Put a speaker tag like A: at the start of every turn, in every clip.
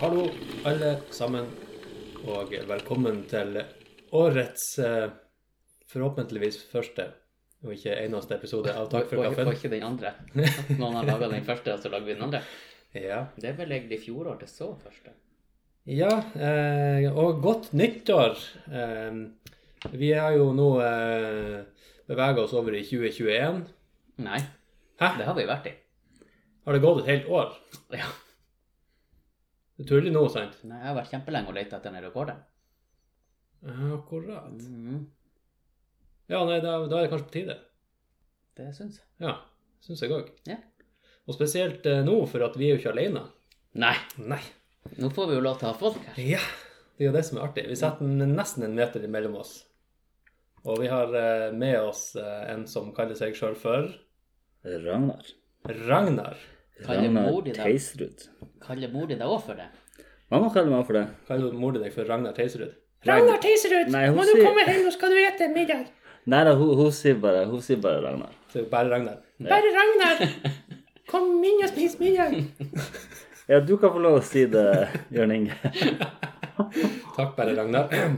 A: Hallo, alle sammen, og velkommen til årets eh, forhåpentligvis første, og ikke eneste episode av Takk for
B: Var- Var
A: kaffen.
B: ikke den andre. Noen har laga den første, og så lager vi den andre.
A: Ja,
B: Det er vel egentlig fjorår det så første.
A: ja eh, og godt nyttår! Eh, vi har jo nå eh, beveget oss over i 2021.
B: Nei,
A: Hæ?
B: det har vi vært i.
A: Har det gått et helt år?
B: Ja.
A: Du tuller nå, sant?
B: Nei, jeg har vært kjempelenge og leita etter den rekorden.
A: Akkurat.
B: Mhm,
A: Ja, nei, da, da er det kanskje på tide.
B: det syns jeg.
A: Ja, synes jeg også.
B: Ja.
A: Og spesielt eh, nå, for at vi er jo ikke alene.
B: Nei,
A: Nei.
B: nå får vi jo lov til å ha folk her.
A: Ja, det er jo det som er artig. Vi setter en- nesten en meter imellom oss. Og vi har eh, med oss eh, en som kaller seg sjøl for
C: Ragnar.
A: Ragnar.
B: Kaller mor di
C: Ragnar
B: deg-
C: Teisrud.
B: Kaller mor di deg òg for det?
C: Mamma kaller meg for det.
A: Kaller du mora di deg for Ragnar Teiserud?
C: Ragnar
A: Teiserud,
C: Nei, hun må du sier- komme
A: hjem, nå skal du ete middag.
C: Nei da, hun, hun, sier bare, hun sier bare Ragnar.
A: Så det er bare Ragnar.
C: Ja.
A: Bare Ragnar! Kom inn og spis middag.
C: Ja, du kan få lov å si det, Jørn Inge.
A: Takk, bare Ragnar.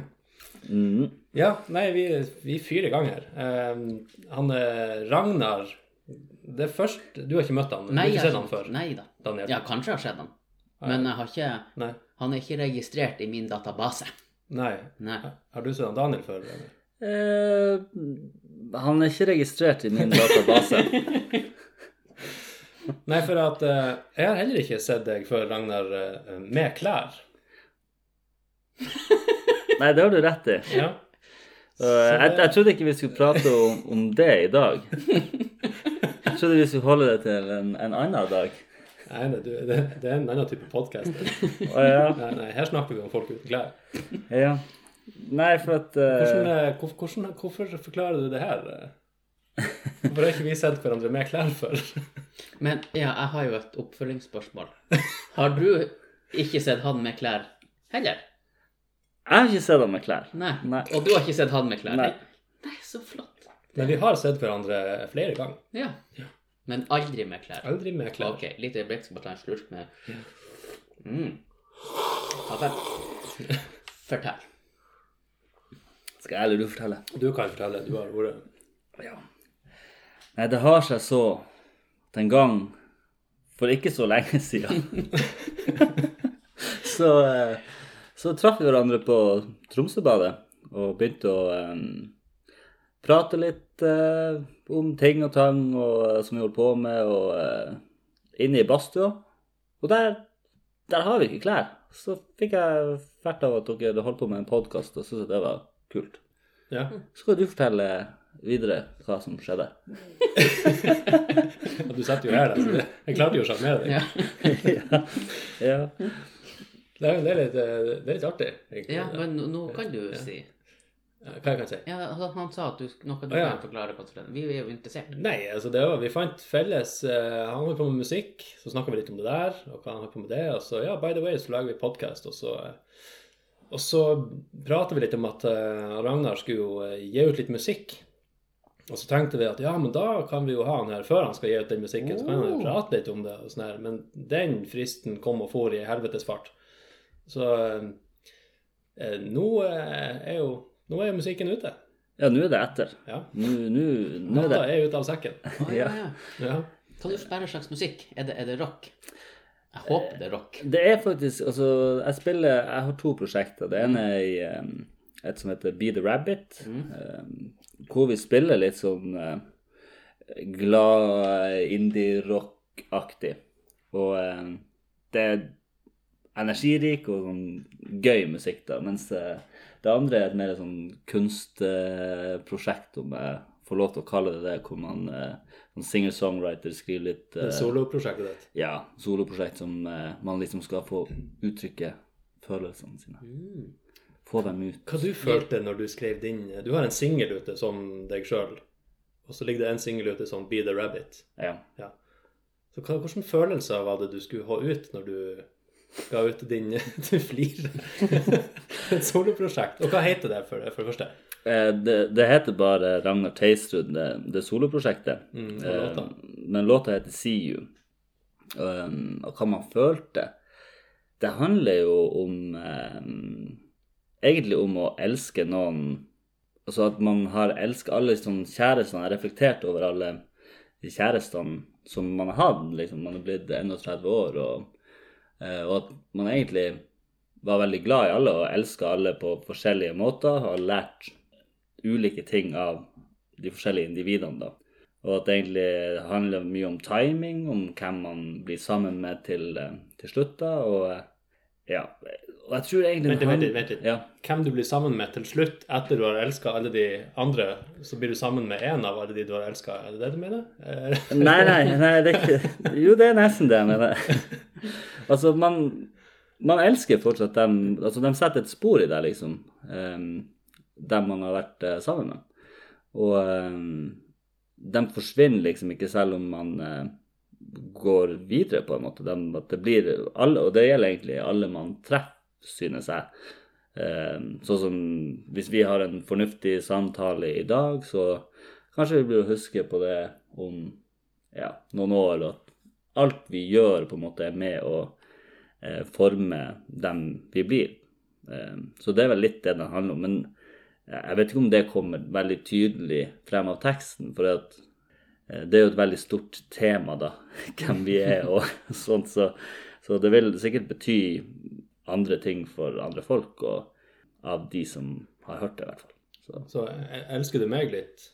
C: Mm.
A: Ja, nei, vi, vi fyrer i gang her. Ehm, han eh, Ragnar Det er først Du har ikke møtt han? Du har
B: Nei,
A: ikke
B: jeg-
A: sett han før?
B: Nei da.
A: Daniel?
B: Ja, kanskje jeg har sett han. Men jeg har ikke
A: Nei.
B: Han er ikke registrert i min database.
A: nei.
B: Nei.
A: Har du sett han Daniel før? Ragnar?
C: Eh, han er ikke registrert i min database.
A: Nei, for at eh, jeg har heller ikke sett deg før, Ragnar, eh, med klær.
C: Nei, det har du rett i.
A: Ja.
C: Så eh, jeg, jeg trodde ikke vi skulle prate om, om det i dag. Jeg trodde vi skulle holde det til en, en annen dag.
A: Nei, nei, du, det, det er en annen type podkast. Nei,
C: Å ja.
A: nei, her snakker vi om folk uten klær.
B: Eh.
C: ja. Nei, for at eh,
A: Hvordan, eh, hvor, hvordan, hvorfor forklarer du det her? eh? Hvorfor har ikke vi sett hverandre med klær før?
B: Men ja, jeg har jo et oppfølgingsspørsmål. Har du ikke sett han med klær heller?
C: Jeg har ikke sett ham med klær.
B: Nei.
C: Nei.
B: Og du har ikke sett han med klær?
C: Nei.
B: Nei, så flott.
A: Men vi har sett hverandre flere ganger.
B: Ja. Men aldri med klær.
A: Aldri med klær.
B: Ok, litt øyeblikk, skal bare ta en slurk med mm. Kaffe. Fortell.
C: Skal jeg eller du fortelle?
A: Du kan fortelle, du har ordet.
C: Nei, det har seg så at en gang for ikke så lenge siden så, eh, så traff vi hverandre på Tromsøbadet og begynte å eh, prate litt eh, om ting og tang og, eh, som vi holdt på med, og eh, inne i badstua. Og der, der har vi ikke klær. Så fikk jeg fert av at dere holdt på med en podkast, og syntes at det var kult.
A: Ja.
C: Så kan du fortelle videre hva som skjedde.
A: Og du sitter jo her, da, så det- jeg klarte jo å sjarmere deg.
B: Ja.
C: Ja.
A: Det, er- det, er litt, eh, det er litt artig. egentlig.
B: ja, men nå- nå kan du si
A: Hva jeg kan si?
B: Ja, altså, Han sa at du, sk- noe du
A: Å, ja.
B: kan forklare. hva som skjedde. Vi er jo interessert.
A: Nei, altså det var, vi fant felles eh, Han holdt på med musikk, så snakka vi litt om det der, og hva han holdt på med det, og så ja, by the way, så lager vi podkast, og så eh, og så prata vi litt om at eh, Ragnar skulle jo eh, gi ut litt musikk. Og så tenkte vi at ja, men da kan vi jo ha han her før han skal gi ut den musikken. Så kan han jo
B: Oh.
A: prate litt om det og sånn her. Men den fristen kom og for i helvetes fart. Så eh, nå eh, er jo nå er jo musikken ute.
C: Ja, nå er det etter.
A: Ja.
C: Nå, nå, nå er
A: Natta
C: det
A: er ute av sekken.
B: Å, ja, ja.
A: Ja.
B: Hva du spiller slags musikk? Er det, er det rock? Jeg håper det er rock.
C: Det er faktisk Altså, jeg spiller Jeg har to prosjekter. Det ene er i em, et som heter Be the Rabbit,
B: Mm.
C: em, hvor vi spiller litt sånn eh, glad indie-rock-aktig. Og em, det er energirik og sånn gøy musikk, da. Mens eh, det andre er et mer sånn kunstprosjekt, om jeg får lov til å kalle det det, hvor man eh, som singer-songwriter skriver litt
A: Det er
C: eh,
A: soloprosjektet ditt.
C: ja, soloprosjekt som eh, man liksom skal få uttrykke følelsene sine.
B: Mm.
C: Få dem ut.
A: Hva du følte når du skrev din Du har en singel ute som deg sjøl, og så ligger det en singel ute som Be the Rabbit.
C: Ja.
A: Så hva, hvordan følelser var det du skulle ha ut når du ga ut din Du flirer. Et soloprosjekt. Og hva heter det, for, for det første?
C: Eh, det, det heter bare Ragnar Teistrud, det, det soloprosjektet.
A: Mm, og
C: eh,
A: låta.
C: men låta heter See You. Um, og hva man følte det handler jo om eh, Egentlig om å elske noen Altså at man har elsket alle sånn kjærestene, har reflektert over alle de kjærestene som man har hatt. Liksom. Man er blitt 31 år, og, eh, og at man egentlig var veldig glad i alle og elska alle på forskjellige måter og har lært ulike ting av de forskjellige individene, da. Og at det egentlig handler mye om timing, om hvem man blir sammen med til, eh, til slutt, da. Og eh, ja. Og jeg tror egentlig
A: Vent litt,
C: han-
A: vent litt, vent litt.
C: Ja.
A: Hvem du blir sammen med til slutt, etter du har elska alle de andre, så blir du sammen med én av alle de du har elska. Er det det du mener? Eh,
C: Nei, nei, nei det er ikke, jo det er nesten det, men det. Altså, man, man elsker fortsatt dem, altså de setter et spor i deg, liksom, em, dem man har vært eh, sammen med. Og em, de forsvinner liksom ikke selv om man eh, går videre på en måte. Dem- at det blir alle, og det gjelder egentlig alle man treffer, synes jeg. Em, sånn som hvis vi har en fornuftig samtale i dag, så kanskje vi blir å huske på det om ja, noen år, og at alt vi gjør på en måte er med å eh, forme dem vi blir. Eh, så det er vel litt det det handler om. Men jeg vet ikke om det kommer veldig tydelig frem av teksten, for at, eh, det er jo et veldig stort tema, da, hvem vi er og sånt, så, så det vil sikkert bety andre ting for andre folk, og av de som har hørt det, i hvert fall. Så.
A: Så eh, elsker du meg litt?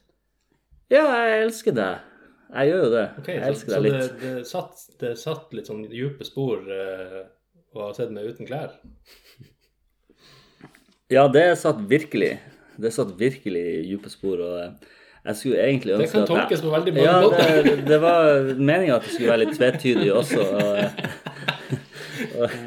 C: Ja, jeg elsker deg. Jeg gjør jo det.
A: Ok,
C: jeg
A: så,
C: elsker
A: så
C: deg
A: det,
C: litt.
A: det, satt, det satt litt sånn dype spor eh, å ha sett meg uten klær?
C: Ja, det satt virkelig Det satt virkelig dype spor, og eh, jeg skulle egentlig
A: Det
C: ønske
A: kan
C: at jeg-
A: tolkes på veldig mange
C: Ja,
A: måter.
C: det, det var meninga at det skulle være litt tvetydig også. Og, eh,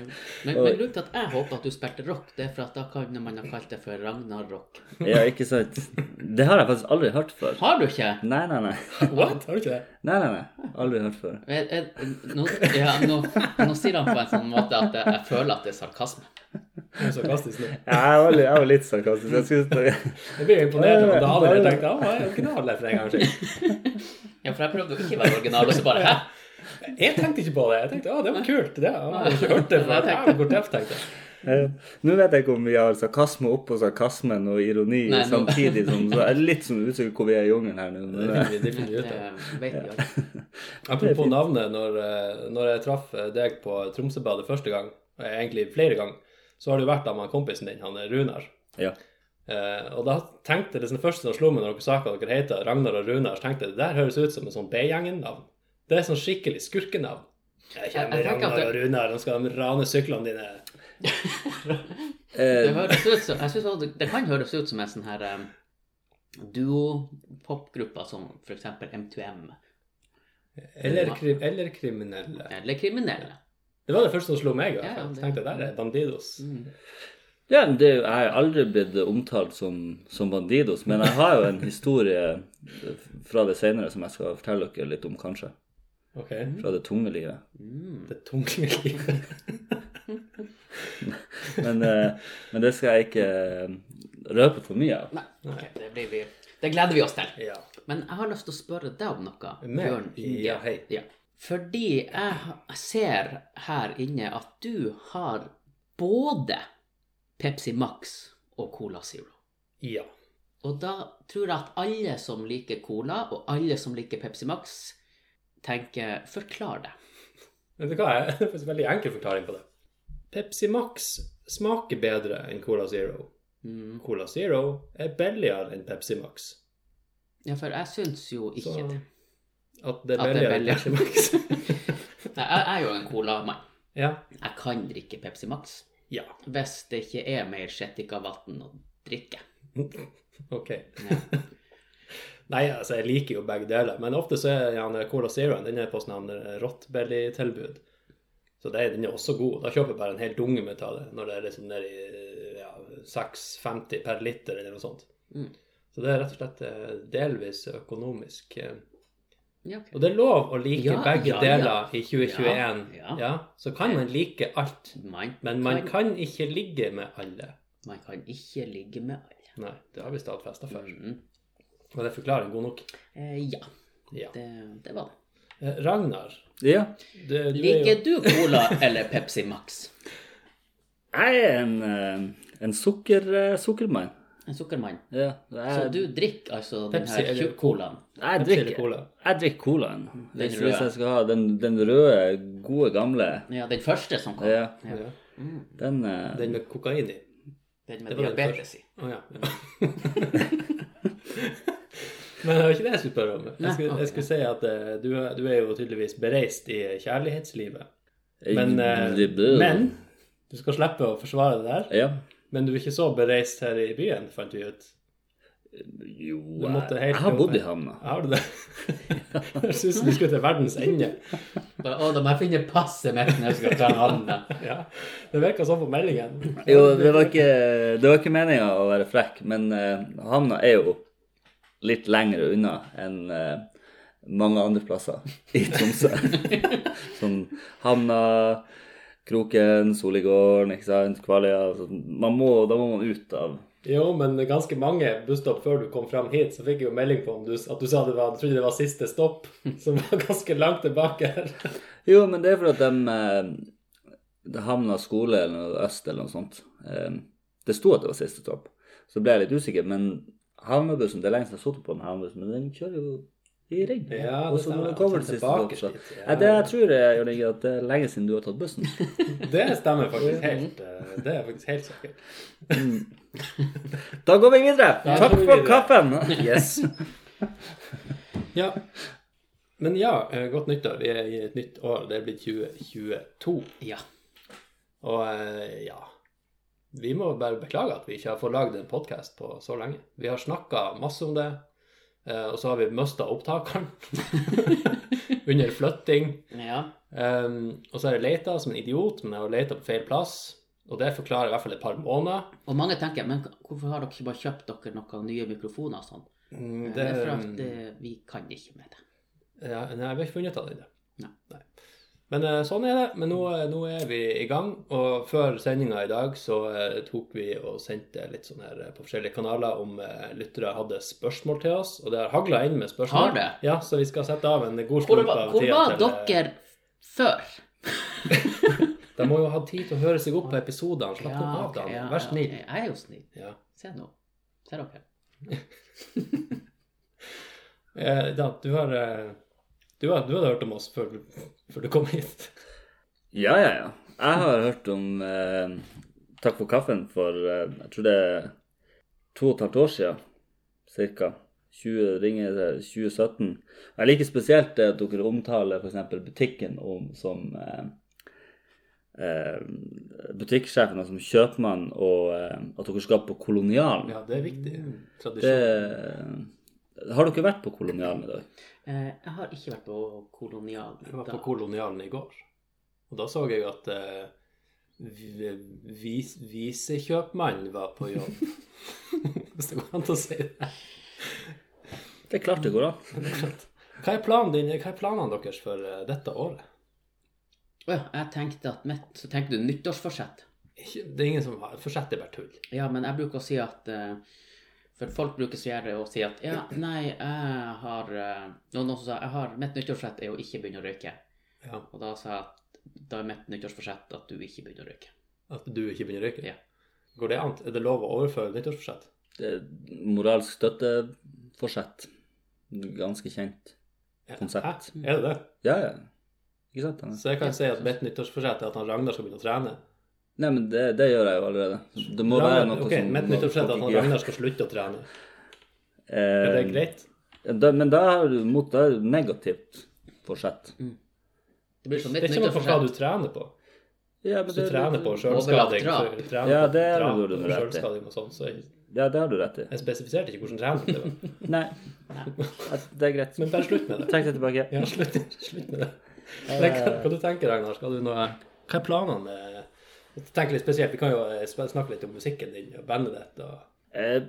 B: Men, men grunnen til at jeg håper at du spilte rock, det er for at da kan man ha kalt det for Ragnarok.
C: ja, ikke sant? Det har jeg faktisk aldri hørt før.
B: Har du ikke?
C: Nei, nei, nei.
B: What?
A: Har du ikke det?
C: Nei, nei, nei. Aldri hørt før.
B: Jeg, jeg, nå, ja, nå, nå sier han på en sånn måte at jeg, jeg føler at det er sarkasme.
A: Det er sarkastisk. nå.
C: Jeg var, litt- jeg var litt sarkastisk. Jeg skulle
A: Jeg blir imponert over at Daniel jeg tenkte han var original der for en gangs skyld.
B: Ja, for jeg prøvde å ikke være original, og så bare hæ?
A: Jeg tenkte ikke på det. Jeg tenkte å, det var kult. det. ah, Jeg har ikke hørt det før. Jeg har gått teft, tenkte jeg.
C: Eh, Nå vet jeg ikke om vi har sarkasme oppå sarkasmen og ironi
B: Nei, nå-
C: samtidig som så er det Litt som usikker hvor vi er i jungelen her nå.
A: Det
C: men, eh,
A: finner vi- Det finner vi ut av.
B: Det Eh, vet vi aldri.
A: Apropos navnet, når, eh, når jeg traff deg på Tromsøbadet første gang, eh, egentlig flere ganger, så har du vært av med kompisen din, han er Runar.
C: Ja.
A: Eh, og da tenkte jeg det som første som slo meg når dere sa hva dere heter, Ragnar og Runar, så tenkte jeg det der høres ut som en sånn B-gjengen-navn. Det er sånn skikkelig skurkenavn. Jeg
B: Jeg-
A: kjenner
B: jeg tenker
A: Ragnar
B: at
A: og
B: det-
A: Runar, de skal rane syklene dine.
B: Det
C: Eh,
B: høres ut som Jeg synes også det- det kan høres ut som en sånn her um, duo-popgruppe som for eksempel M2M,
A: Eller, kri eller kriminelle.
B: eh, eller kriminelle.
A: Det var det første som slo meg. i hvert
B: Ja,
A: fall.
B: det-
A: Så tenkte jeg der er Bandidos.
B: Mm.
C: Ja, men det, er jo- jeg har aldri blitt omtalt som, som bandidos, men jeg har jo en historie fra det senere som jeg skal fortelle dere litt om, kanskje.
A: Ok,
C: Fra det tunge livet.
B: Mm.
A: det tunge livet.
C: Men, eh, men det skal jeg ikke eh, røpe for mye av.
B: Nei, ok, det blir vi Det gleder vi oss til.
A: Ja.
B: Men jeg har lyst til å spørre deg om noe,
A: Meg?
B: Bjørn Inge.
A: Ja, hei.
B: Fordi jeg ha- ser her inne at du har både Pepsi Max og Cola Zero.
A: ja.
B: Og da tror jeg at alle som liker Cola, og alle som liker Pepsi Max, tenker 'forklar det'.
A: Vet du hva, jeg har faktisk en veldig enkel forklaring på det. Pepsi Max smaker bedre enn Cola Zero.
B: Mm.
A: Cola Zero er billigere enn Pepsi Max.
B: Ja, for jeg syns jo ikke
A: Så
B: det.
A: at det er
B: At det er
A: billigere enn Pepsi Max.
B: Nei, jeg jeg er jo en Cola-mann.
A: ja.
B: Jeg kan drikke Pepsi Max
A: ja.
B: hvis det ikke er mer sjettika-vann å drikke.
A: Ok.
B: Ja.
A: Nei, altså, jeg liker jo begge deler, men ofte så er gjerne Cola Zero den er på sånn rottbelly-tilbud. Så det, den er også god. Da kjøper jeg bare en hel dunge med av det, når det er liksom nede i ja, 6,50 per liter eller noe sånt.
B: Mm.
A: Så det er rett og slett eh, delvis økonomisk. eh,
B: Ja, ok.
A: Og det er lov å like
B: Ja,
A: begge
B: ja, ja.
A: deler i 2021. Ja,
B: Ja, ja.
A: Så kan man like alt,
B: Man,
A: men man kan ikke ligge med alle.
B: man kan ikke ligge med alle.
A: Nei, det har vi stadfesta før.
B: Mm.
A: Var det forklaring god nok?
B: Eh, ja,
A: Ja.
B: det, det var det.
A: Eh, Ragnar,
C: Ja.
A: du, du er jo
B: Liker du Cola eller Pepsi Max?
C: Jeg er en, eh, en sukker, eh, sukkermann.
B: En sukkermann.
C: Ja,
B: Så
C: jeg,
B: du drikker altså den
A: Eh, Pepsi
B: her
A: eller-
B: tjukk-colaen?
C: jeg,
A: Pepsi eller
C: drikker,
A: cola?
C: jeg drikker colaen. Hvis,
B: røde.
C: hvis jeg skal ha den, den røde, gode, gamle
B: Ja, den første som kom.
C: ja,
B: Ja.
A: Ja.
B: Mm.
C: den, eh,
A: Den med kokain i?
B: Den
A: Det
B: med
A: var den
B: diabetes i.
A: Å ja. ja. Men det var ikke det jeg skulle spørre om. Jeg skulle, jeg skulle si at eh, du, er- du er jo tydeligvis bereist i kjærlighetslivet. Men,
C: Mm.
A: eh, men du skal slippe å forsvare det der.
C: Ja.
A: Men du er ikke så bereist her i byen, fant vi ut.
C: Jo, jeg,
A: måtte helt
C: jeg har
A: opp-
C: bodd i havna.
A: Har du det? Jeg syns du skulle til verdens ende.
B: Bare, å, da må jeg finne passet mitt når jeg skal ta havna.
A: Ja. Det virka sånn på meldingen.
C: Jo, det var ikke, det var ikke meninga å være frekk, men eh, havna er jo litt lenger unna enn eh, mange andre plasser i Tromsø. Som havna, Kroken, Soligården, ikke sant, Kvaløya. altså, Man må, da må man ut av
A: Jo, men ganske mange busstopp før du kom fram hit, så fikk jeg jo melding på om du, at du sa det var, trodde det var siste stopp, som var ganske langt tilbake her.
C: Jo, men det er fordi at de, eh, de havna skole eller noe øst eller noe sånt. Eh, Det sto at det var siste stopp, så ble jeg litt usikker. Men havnebussen, det er lenge siden jeg har sittet på en havnebuss, men den kjører jo i ring.
A: Ja,
C: og så når det kommer til siste stopp,
A: tilbake
C: så
A: dit,
C: Nei, det jeg tror jeg, Jørgen, Inge, at det er lenge siden du har tatt bussen.
A: Det stemmer faktisk helt. eh, Det er faktisk helt sikkert.
C: Da går vi videre.
A: Da
C: Takk
A: går vi
C: for
A: videre.
C: kaffen. Yes.
A: Ja. Men ja, eh, godt nyttår. Vi er i et nytt år. Det blir 2022.
B: Ja.
A: Og eh, ja Vi må bare beklage at vi ikke har fått lagd en podkast på så lenge. Vi har snakka masse om det, eh, og så har vi mista opptakeren under flytting.
B: ja.
A: Um, og så har jeg leita som en idiot, men jeg har leita på feil plass. Og det forklarer i hvert fall et par måneder.
B: Og mange tenker, men hvorfor har dere ikke bare kjøpt dere noen nye mikrofoner og sånn?
A: Mm,
B: Det er for at eh, vi kan ikke med det.
A: Ja, nei, vi har ikke funnet ut av det ennå.
B: Nei.
A: Men eh, sånn er det. Men nå, eh, nå er vi i gang. Og før sendinga i dag så eh, tok vi og sendte litt sånn her eh, på forskjellige kanaler om eh, lyttere hadde spørsmål til oss. Og det har hagla inn med spørsmål.
B: Har det?
A: Ja, så vi skal sette av en god
B: Hvor
A: slump
B: var,
A: av
B: hvor
A: tida til,
B: var
A: eh,
B: dere før?
A: De må jo ha tid til å høre seg opp på episodene. Slapp nå av,
B: ok,
A: Dan.
B: ja,
A: Vær snill.
B: ok, Jeg er jo snill.
A: Ja.
B: Se nå. Ser dere?
A: Eh, Dan, du har, eh, du, har, du hadde hørt om oss før, du- før du kom hit.
C: Ja, ja, ja. Jeg har hørt om eh, Takk for kaffen for eh, jeg tror det er to og et halvt år siden, cirka. 20, ringer til 2017. Jeg liker spesielt det at dere omtaler f.eks. butikken om, som eh, eh, butikksjefen og som kjøpmann, og eh, at dere skal på Kolonialen.
A: Ja, det er viktig. Tradisjon.
C: Det, har dere vært på Kolonialen i dag?
B: Eh, jeg har ikke vært på kolonial.
A: Jeg var
B: da.
A: på Kolonialen i går, og da så jeg at eh, vi- vis, visekjøpmannen var på jobb. Hvis det går an å si det.
C: Det er klart det går an.
A: Hva er planen din, hva er planene deres for eh, dette året?
B: Å ja, jeg tenkte at mitt Så tenkte du nyttårsforsett?
A: Ikke, det er ingen som har Forsett er bare tull.
B: Ja, men jeg bruker å si at eh, For folk bruker så gjerne å si at Ja, nei, jeg har eh, Noen noen som sa jeg har, mitt nyttårsforsett er å ikke begynne å røyke.
A: Ja,
B: Og da sa jeg at da er mitt nyttårsforsett at du ikke begynner å røyke.
A: at du ikke begynner å røyke?
B: Ja.
A: Går det an? Er det lov å overføre nyttårsforsett?
C: Det er moralsk støtteforsett. Ganske kjent
A: Ja.
C: konsept.
A: Hæ? Er det det?
C: Ja, ja. Ikke sant? Anne?
A: Så jeg kan si at mitt nyttårsforsett er at han Ragnar skal begynne å trene.
C: Nei, men det, det gjør jeg jo allerede. Det må være noe
A: ok,
C: som
A: Mitt nyttårsforsett er at
C: folk
A: han
C: ikke gjør.
A: Ragnar skal slutte å trene.
C: Eh,
A: Er altså. det greit?
C: Da, men da har du mot da er det negativt forsett.
B: Det blir som
A: Det
B: mitt
A: er ikke noe for hva
B: nyttårsforsett.
A: du trener på.
C: Ja, men
A: Hvis du
C: det-
A: trener på
B: Overlagt
A: sjølskading
B: drap.
C: Ja, det er det du har rett i.
A: Sjølskading og sånn, så jeg,
C: Ja, det har du rett i.
A: jeg spesifiserte ikke hvordan trening det var.
C: Nei, det er greit.
A: Men bare slutt med det.
C: Trekk det tilbake.
A: Ja, slutt, slutt med det. Men hva, hva du tenker Ragnar? Skal du noe Hva er planene med Tenk litt spesielt, vi kan jo eh, sp- snakke litt om musikken din og bandet ditt og
C: Eh,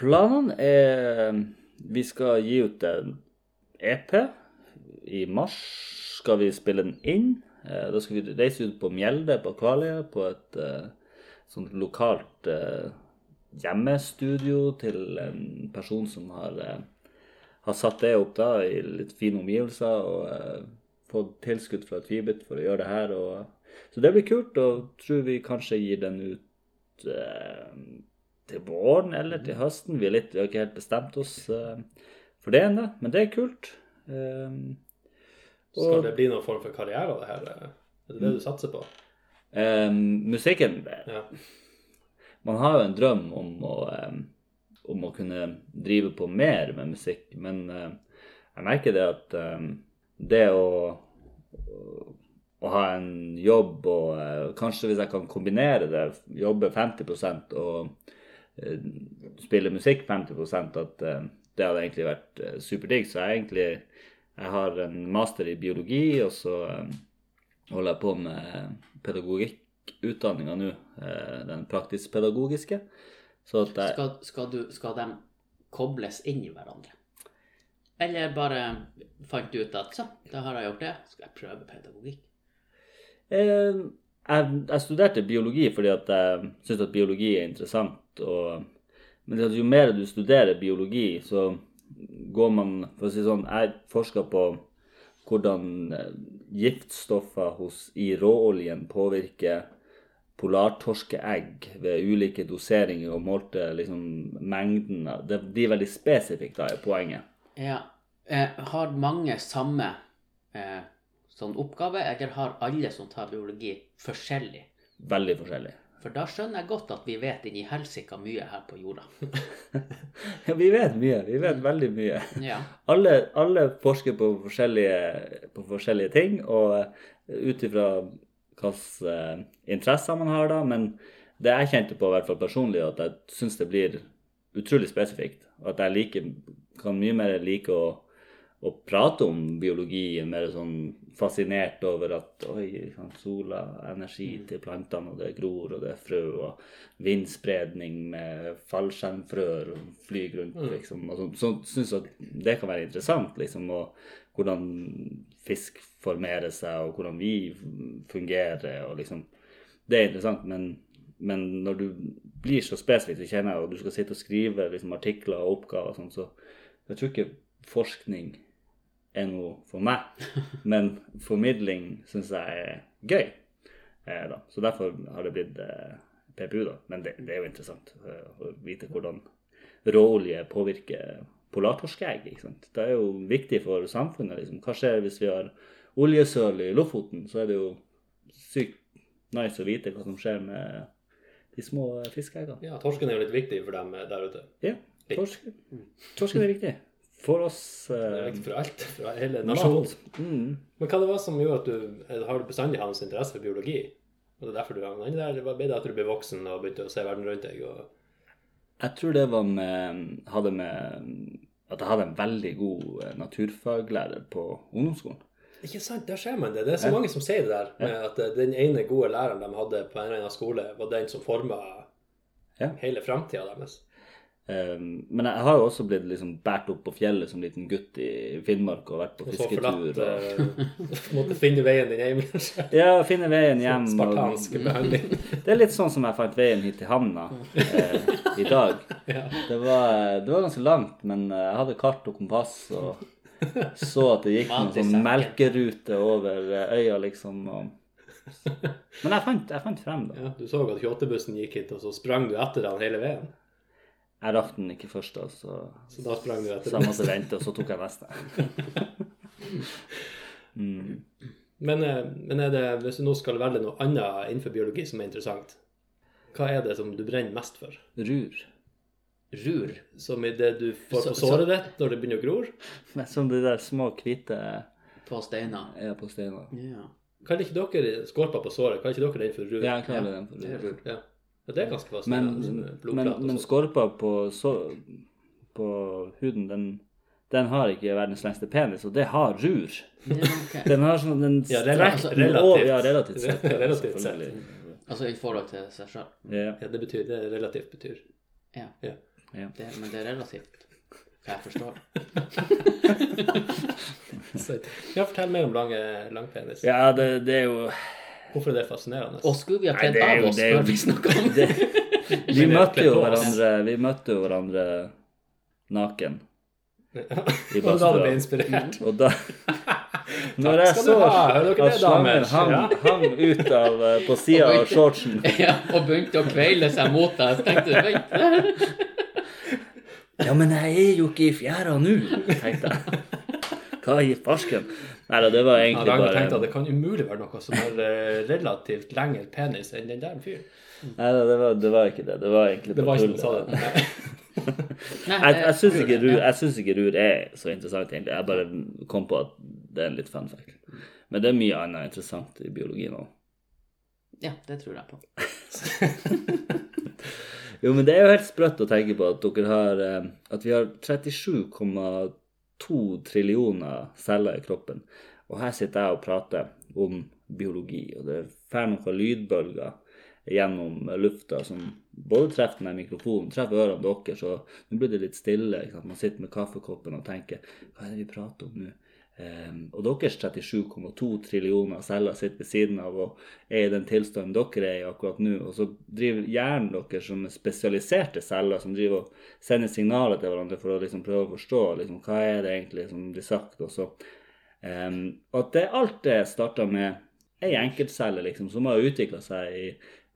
C: Planene er Vi skal gi ut en EP. I mars skal vi spille den inn. Eh, Da skal vi reise ut på Mjelde på Kvaløya, på et eh, sånt lokalt eh, hjemmestudio til en person som har, eh, har satt det opp da i litt fine omgivelser og eh, fått tilskudd fra Tvibit for å gjøre det her. Og, så det blir kult, og tror vi kanskje gir den ut eh, til våren eller til høsten. Vi, er litt, vi har ikke helt bestemt oss eh, for det ennå, men det er kult. Eh,
A: Skal det bli noen form for karriere av det her? eh? Er det det du satser på?
C: eh, musikken eh,
A: Ja.
C: Man har jo en drøm om å, eh, om å kunne drive på mer med musikk, men eh, jeg merker det at eh, det å, å ha en jobb og eh, kanskje hvis jeg kan kombinere det, jobbe 50 og eh, spille musikk 50 at eh, det hadde egentlig vært eh, superdigg. Så jeg egentlig jeg har en master i biologi, og så eh, holder jeg på med pedagogikkutdanninga nå. eh, Den praktisk-pedagogiske. Så at jeg,
B: Skal, skal, du, skal de kobles inn i hverandre? Eller bare fant du ut at så, da har jeg gjort det, skal jeg prøve pedagogikk?
C: Eh, jeg, jeg studerte biologi fordi at jeg syntes at biologi er interessant. Og, men det at jo mer du studerer biologi, så går man For å si det sånn, jeg forska på hvordan eh, giftstoffer hos, i råoljen påvirker polartorskeegg ved ulike doseringer og målte liksom mengden av det, De er veldig spesifikke, da, er poenget.
B: Ja. Eh, har mange samme eh, sånn oppgave, eller har alle som tar biologi, forskjellig?
C: Veldig forskjellig.
B: For da skjønner jeg godt at vi vet inni helsika mye her på jorda.
C: Vi vet mye. Vi vet veldig mye.
B: Ja.
C: alle, alle forsker på forskjellige, på forskjellige ting, og eh, ut ifra hvilke eh, interesser man har, da. Men det jeg kjente på, i hvert fall personlig, at jeg syns det blir utrolig spesifikt. At jeg liker, kan mye mer like å, å prate om biologi, mer sånn fascinert over at oi, liksom, sola, energi til plantene, og det gror, og det er frø, og vindspredning med fallskjermfrøer og flyr rundt,
A: Mm.
C: liksom. Og sånn, så syns jeg at det kan være interessant, liksom. og hvordan fisk formerer seg, og hvordan vi fungerer. og liksom, Det er interessant, men, men når du blir så spesifikk, så kjenner jeg, og du skal sitte og skrive liksom, artikler og oppgaver, og sånn, så jeg tror ikke forskning er noe for meg. Men formidling syns jeg er gøy. Eh, da. Så derfor har det blitt eh, PPU, da. Men det, det er jo interessant eh, å vite hvordan råolje påvirker polartorskeegg. ikke sant? Det er jo viktig for samfunnet. liksom. Hva skjer hvis vi har oljesøl i Lofoten? Så er det jo sykt nice å vite hva som skjer med de små fiskeeggene.
A: ja, torsken er jo litt viktig for dem eh, der ute.
C: Ja, torsken torsken er viktig. For oss
A: Det er
C: eh,
A: viktig for alt, for hele nasjonen.
C: mat. Mm.
A: Men hva det var som gjorde at du eller har du bestandig hatt en interesse for biologi? Og det er derfor du havna inni der? Eller var det bedre at du ble voksen og begynte å se verden rundt deg? Og...
C: Jeg tror det var med, hadde med at jeg hadde en veldig god eh, naturfaglærer på ungdomsskolen.
A: Ikke sant, der ser man det. Det er så mange som sier det der. Med at eh, den ene gode læreren de hadde på en eller annen skole, var den som forma
C: Ja.
A: hele framtida deres.
C: Eh, Men jeg har jo også blitt liksom båret opp på fjellet som liten gutt i Finnmark og vært på
A: Og så
C: fisketur.
A: forlatt
C: Og,
A: eh, Måtte finne veien din hjem, kanskje.
C: ja, finne veien hjem. Og,
A: Spartansk behandling.
C: det er litt sånn som jeg fant veien hit til havna eh, i dag.
A: Ja.
C: Det var, eh, det var ganske langt, men eh, jeg hadde kart og kompass og så at det gikk noen
B: Mat i
C: sånn
B: sekken.
C: melkerute over eh, øya, liksom. Og... Men jeg fant, jeg fant frem, da.
A: Ja, du så at 28-bussen gikk hit, og så sprang du etter han hele veien.
C: Jeg rakk den ikke først, da, så
A: Så da sprang du
C: så
A: etter
C: jeg
A: den.
C: måtte vente, og så tok jeg neste. Mm.
A: Men, eh, men er det, hvis du nå skal velge noe annet innenfor biologi som er interessant, hva er det som du brenner mest for?
C: Rur.
B: Rur.
A: Som i det du får på
B: Så- så-
A: såret ditt når det begynner å gror?
C: Nei, Som de der små hvite
B: På steiner.
C: er på steiner.
B: Ja.
A: Kan ikke dere skorpa på såret? Kan ikke dere den for rur?
C: Ja, jeg klarer den for
B: det er
C: rur.
B: rur.
A: Ja. Ja, Det er ganske
C: Men,
A: fascinerende. sånn, eh,
C: men,
A: blodprat og
C: men
A: sånt.
C: skorpa på, så, på huden, den, den har ikke verdens lengste penis, og det har rur.
B: ja ok.
C: Den har sånn den
A: Ja, rela-
C: strekk-
A: altså,
C: Å,
A: relativt.
C: Ja, relativt sett. ja,
A: Relativt sett.
C: selvfølgelig.
B: Altså i forhold til seg sjøl.
C: Ja.
A: ja, det betyr det relativt betyr.
B: Ja.
A: Ja.
C: Ja.
B: Det, men det er relativt. Hva jeg forstår.
A: Så, ja, fortell mer om lange, langpenis.
C: ja, det, det er jo
A: Hvorfor er det fascinerende?
B: Og skulle vi ha kledd
C: det er
B: av
C: jo-
B: oss
C: det er jo-
B: før vi snakka om det?
C: det, vi,
A: Men det
C: møtte
A: er
C: jo
A: på oss.
C: hverandre, vi møtte jo hverandre naken
A: Ja. Og da
C: badstua.
A: du ble inspirert.
C: Og da, Når jeg
A: skal du
C: så
A: ha. Hører dere
C: at
A: det, damer?
C: slangen hang, hang ut av, eh, på sida av shortsen
B: Ja, og begynte å kveile seg mot deg. Så tenkte du, vent
C: Ja, men jeg er jo ikke i fjæra nå, tenkte jeg. Hva i farsken? Nei da, det var
A: Jeg har
C: egentlig
A: lenge
C: bare
A: tenkt at det kan umulig være noe som har eh, relativt lengre penis enn den der fyren.
C: Nei da, det var, det var ikke det. Det var egentlig
A: Det var
C: bare
A: ikke noe sånt.
C: tull.
A: Nei.
B: Nei,
C: Jeg, jeg syns
B: Rur,
C: ikke, Rur-
B: eh, ja.
C: jeg syns ikke Rur er så interessant, egentlig. Jeg bare kom på at det er en litt fun fact. Men det er mye annet interessant i biologien òg.
B: Ja, det tror jeg på.
C: Jo, men det er jo helt sprøtt å tenke på at dere har eh, At vi har 37,2 trillioner celler i kroppen. Og her sitter jeg og prater om biologi, og det fer noen lydbølger gjennom lufta som både treffer den her mikrofonen, treffer ørene deres, og nå blir det litt stille. Ikke sant? Man sitter med kaffekoppen og tenker Hva er det vi prater om nå? Ehm, og deres 37,2 trillioner celler sitter ved siden av og er i den tilstanden dere er i akkurat nå. Og så driver hjernen deres som er spesialiserte celler, som driver og sender signaler til hverandre for å liksom prøve å forstå liksom, hva er det egentlig som blir sagt. Og så Ehm, og at det, alt det starta med ei enkeltcelle liksom, som har utvikla seg i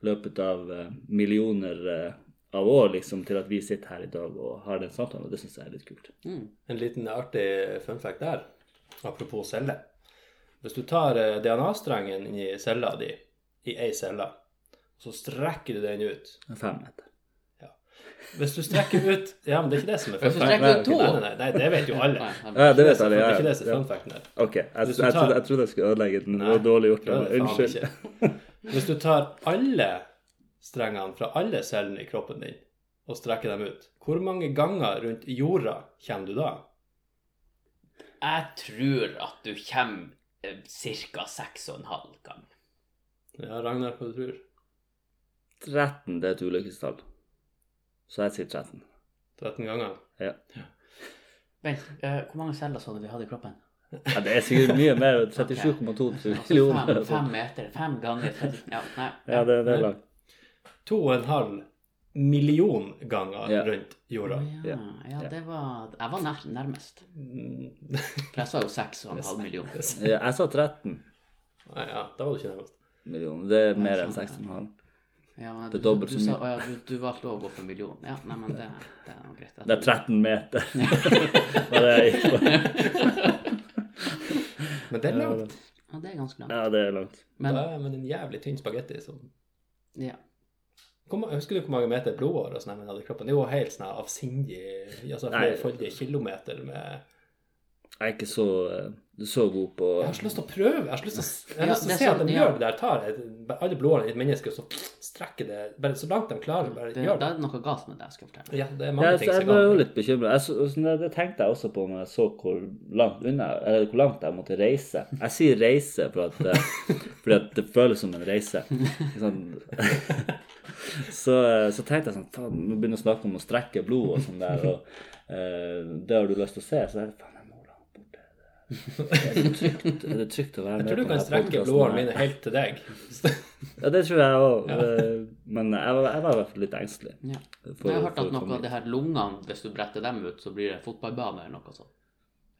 C: løpet av eh, millioner eh, av år liksom, til at vi sitter her i dag og har den samtalen. og Det syns jeg er litt kult.
B: Mm.
A: En liten artig fun fact der, apropos celle. Hvis du tar eh, DNA-strengen inn i cella di, i ei celle, så strekker du den ut.
C: Fem meter.
A: Hvis du strekker ut Ja, men det er ikke det som er
B: Hvis
A: fun
B: du
A: fact.
B: strekker ut to
A: Nei, nei, nei, nei, det vet jo alle.
B: Nei, han-
C: Ja, det vet
A: som-
C: alle. Ja,
A: Det er ikke det som
C: ja.
A: er fun facten her.
C: Ok, jeg, jeg,
A: Hvis du tar-
C: trodde, jeg trodde jeg skulle ødelegge den. Det var
A: Nei,
C: dårlig gjort.
A: det var
C: av meg.
A: det faen
C: Unnskyld.
A: ikke. Hvis du tar alle strengene fra alle cellene i kroppen din og strekker dem ut, hvor mange ganger rundt jorda kommer du da?
B: Jeg tror at du kommer eh, ca. 6,5 gang.
A: Ja, Ragnar, hva du tror
C: 13 det er et ulykkestall. Så jeg sier 13.
A: 13 ganger?
C: Ja.
B: Vent, eh, hvor mange celler så du vi hadde i kroppen?
C: ja, det er sikkert mye mer. 37,2
A: Altså
B: Altså, fem,
C: trillioner.
B: fem meter, fem ganger 30 Ja, nei.
C: Ja, det, det er langt.
A: 2,5 million ganger
C: Ja.
A: rundt jorda.
B: Ja, ja, det var Jeg var nær, nærmest.
A: Mm,
B: For jeg sa jo 6,5 millioner.
C: Ja, Jeg sa 13
A: Nei, ja, da var du ikke nærmest.
C: millioner. Det er mer enn 6,5.
B: Ja, men
C: Det
B: du,
C: er dobbelt
B: du,
C: så
B: sa,
C: mye.
B: å, ja, du, du valgte å gå for million. Ja, nei, men det, det er nå greit.
C: Det er 13 meter. Var det jeg gikk for.
A: Men det er langt.
B: Ja, det er ganske langt.
C: Ja, det er langt.
A: Ja,
B: Men
A: men en jævlig tynn spagetti som
B: ja.
A: Hvor ma- Husker du hvor mange meter blodår og sånn her man hadde i kroppen? Det var helt sånn her avsindig altså
C: Nei.
A: flerfoldige kilometer med
C: Jeg er ikke så, eh, så god på
A: Jeg har så lyst til å prøve. Jeg har så lyst til å, jeg har
B: Ja,
A: lyst til å
B: det er
A: se at
B: sånn,
A: de
B: ja.
A: gjør det der. Tar et- bare alle blodårene i et menneske og så strekker det bare så langt de klarer. Bare
B: Det,
A: gjør
B: da
A: det.
B: er det noe galt med det, skal jeg fortelle.
A: Ja, det er
C: Ja,
A: mange
C: jeg,
A: ting
C: jeg
A: som
C: ble jo
A: kan
C: litt bekymra. Det, det tenkte jeg også på når jeg så hvor langt unna Eller hvor langt jeg måtte reise. Jeg sier reise for at, eh, fordi at det føles som en reise. Ikke sant? Så, eh, så tenkte jeg sånn Faen, nå begynner jeg å snakke om å strekke blod og sånn der, og eh, det har du lyst til å se. Så jeg faen, jeg må langt bort er det. Er det trygt, er det trygt å være
A: Jeg
C: med
A: tror du
C: på
A: kan
C: denne
A: strekke
B: sånn
C: podcasten her?
A: blodårene mine helt til deg.
C: Ja, det tror jeg òg. Men jeg var, jeg var i hvert fall litt engstelig.
B: Ja.
C: for-
B: jeg har hørt
C: for å
B: at noe
C: komme
B: av det her lungene, hvis du bretter dem ut, så blir det fotballbane eller noe sånt.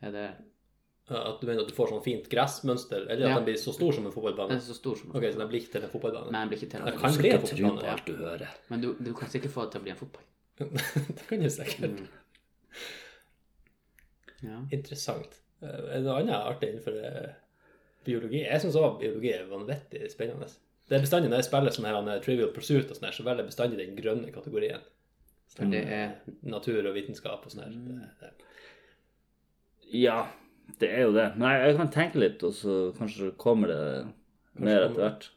B: Er det,
A: At du mener at du får sånn fint gressmønster, eller at
B: Ja.
A: den blir så stor som en
B: den
A: fotballbane.
B: er så stor som
A: Ok, så den blir ikke til en
B: Nei,
A: fotballbane.
B: den blir ikke til
A: Det
B: en
A: kan
C: Du
A: bli
C: skal
A: en
C: ikke tro på
A: fotballbane.
C: alt du hører.
B: Men du, du kan sikkert få det til å bli en fotball.
A: ja. det kan du sikkert.
B: Mm. Ja.
A: Interessant. Eh, Er det noe annet artig innenfor eh, biologi? Jeg syns òg biologi er vanvittig spennende. Det er bestandig når jeg spiller sånn her eh, Trivial Pursuit og sånn her, så velger jeg bestandig den grønne kategorien.
B: For det er
A: Natur og vitenskap og sånn her.
B: Mm.
A: Det- det-
C: Ja, det er jo det. Men jeg, jeg kan tenke litt, og så kanskje kommer det mer
A: kommer det.
C: etter hvert.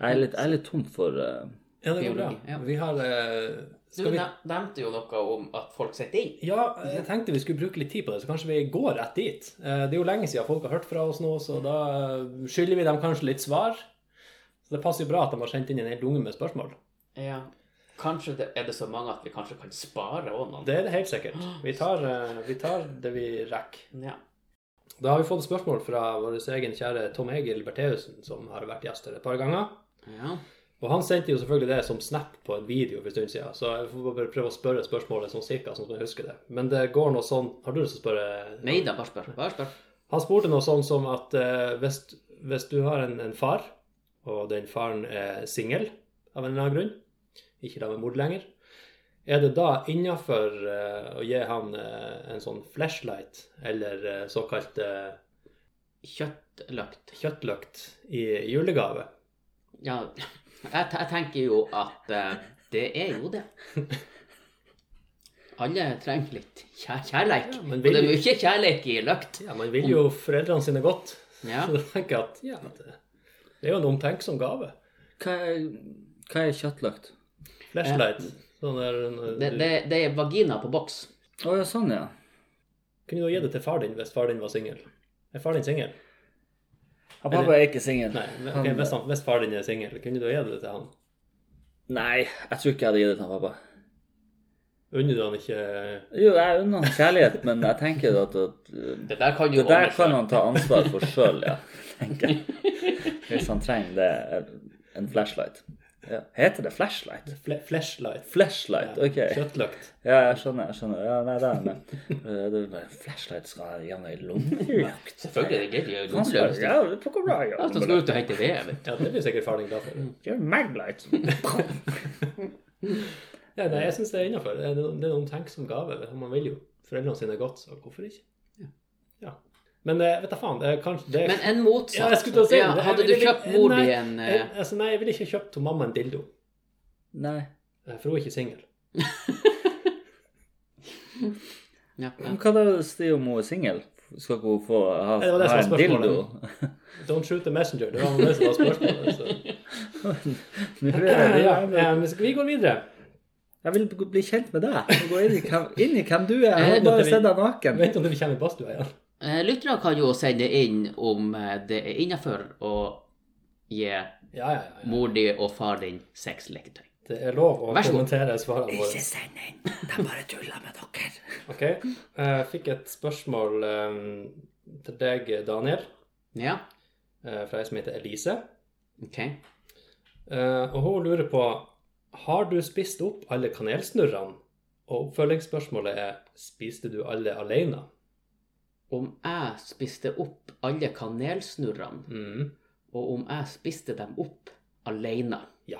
C: Jeg er litt, jeg er litt tom for eh,
A: Ja, det går bra.
B: Biologi, ja.
A: Vi har eh,
B: Du
A: Skal vi
B: ne- nevnte jo noe om at folk sitter inn.
A: Ja, jeg tenkte vi skulle bruke litt tid på det, så kanskje vi går rett dit. Eh, Det er jo lenge siden folk har hørt fra oss nå,
B: Mm.
A: så da eh, skylder vi dem kanskje litt svar. Så det passer jo bra at de har sendt inn en hel lunge med spørsmål.
B: Ja. Kanskje det, er det så mange at vi kanskje kan spare også noen.
A: Det er det helt sikkert. Vi tar, eh, vi tar det vi rekker.
B: Ja.
A: Da har vi fått spørsmål fra vår egen kjære Tom Egil Bertheussen, som har vært gjest her et par ganger.
B: ja.
A: Og han sendte jo selvfølgelig det som snap på en video for en stund siden, så jeg får bare prøve å spørre spørsmålet sånn cirka sånn som jeg husker det. Men det går noe sånn Har du lyst til å spørre?
B: Nei da, bare spør. Bare spør.
A: Han spurte noe sånn som at eh, hvis, hvis du har en, en far, og den faren er singel av en eller annen grunn, ikke da med mor lenger, er det da innafor å gi han eh, en sånn flashlight, eller eh, såkalt eh,
B: Kjøttløkt.
A: kjøttløkt, i julegave?
B: Ja, jeg, te- jeg tenker jo at eh, det er jo det. Alle trenger litt kjær kjærleik.
A: Ja, men
B: Og det er
A: vil-
B: mye kjærleik i løkt.
A: Ja, man vil jo foreldrene sine godt,
B: Ja.
A: så da tenker jeg at ja, det, det er jo en omtenksom gave.
C: Hva er, hva er kjøttløkt?
A: Flashlight. Sånn der,
B: Det, det, det er vagina på boks.
C: Å ja, sånn, ja.
A: Kunne du gi det til far din hvis far din var singel? Er far din singel?
C: Han pappa er ikke singel.
A: Nei, men,
C: Han-
A: ok, hvis, han, hvis far din er singel, kunne du gi det til han?
C: Nei, jeg tror ikke jeg hadde gitt det til han pappa.
A: Unner du han ikke eh,
C: Jo, jeg unner han kjærlighet, men jeg tenker at, at uh,
B: Det der kan jo
C: Det der
B: ordne
C: kan
B: seg.
C: han ta ansvar for sjøl, ja. Tenker jeg. Hvis han trenger det. eh, En flashlight. Ja. Heter det flashlight?
A: fle Flashlight.
C: Flashlight, OK.
A: Kjøttløkt.
C: Ja, jeg skjønner. jeg skjønner. Ja, nei, det er med. Uh, det er bare, Flashlight skal jeg gjerne i lommelykt.
B: Selvfølgelig. Det er
C: Han skal-
B: gøy.
C: Ja, det plukker bra, ja.
B: Ja, så skal du ut og hente det. Vet.
A: Ja, det blir sikkert far din glad for.
C: Det er jo Maglite.
A: Ja, nei, jeg syns det er innafor. Det er en det er en omtenksom gave. Man vil jo foreldrene sine godt, så hvorfor ikke? Ja. Men eh, vet da faen, det er kanskje det
B: du.
A: er-
B: Men en
A: ja,
B: motsatt.
A: jeg skulle til å si det.
B: Ja,
A: Jeg
B: hadde du
A: ville-
B: kjøpt mor
A: Nei,
B: di en
A: jeg,
B: eh,
A: altså, Nei, jeg ville ikke kjøpt til mamma en dildo,
C: Nei.
A: eh, for hun er ikke singel.
B: ja, ja.
C: Men Hva da hvis det er om hun er singel? Skal ikke hun få
A: Ja,
C: ha,
A: det var det som
C: ha
A: var
C: en
A: spørsmålet.
C: dildo?
A: Don't shoot the messenger. Det var det som var spørsmålet. Så.
C: Nå er det-
A: Ja, eh, men skal vi gå videre?
C: Jeg vil bli kjent med deg. og Gå inn i hvem, inn i hvem du er. Jeg har
A: Jeg
C: bare
A: vet-
C: sett deg naken.
A: Vent om du kommer i badstua igjen.
B: Eh, Lyttere kan jo sende inn om eh, det er innafor å gi
A: Ja, ja, ja, ja.
B: mor di og far din sexleketøy.
A: Det er lov å
B: Vær så god.
A: kommentere svarene våre.
C: send inn. De bare tuller med dere.
A: Ok, Jeg fikk et spørsmål eh, til deg, Daniel,
B: Ja,
A: eh, fra ei som heter Elise.
B: OK.
A: Eh, og hun lurer på Har du spist opp alle kanelsnurrene? Og oppfølgingsspørsmålet er Spiste du alle alene?
B: Om jeg spiste opp alle kanelsnurrene,
A: Mm.
B: og om jeg spiste dem opp alene
A: Ja.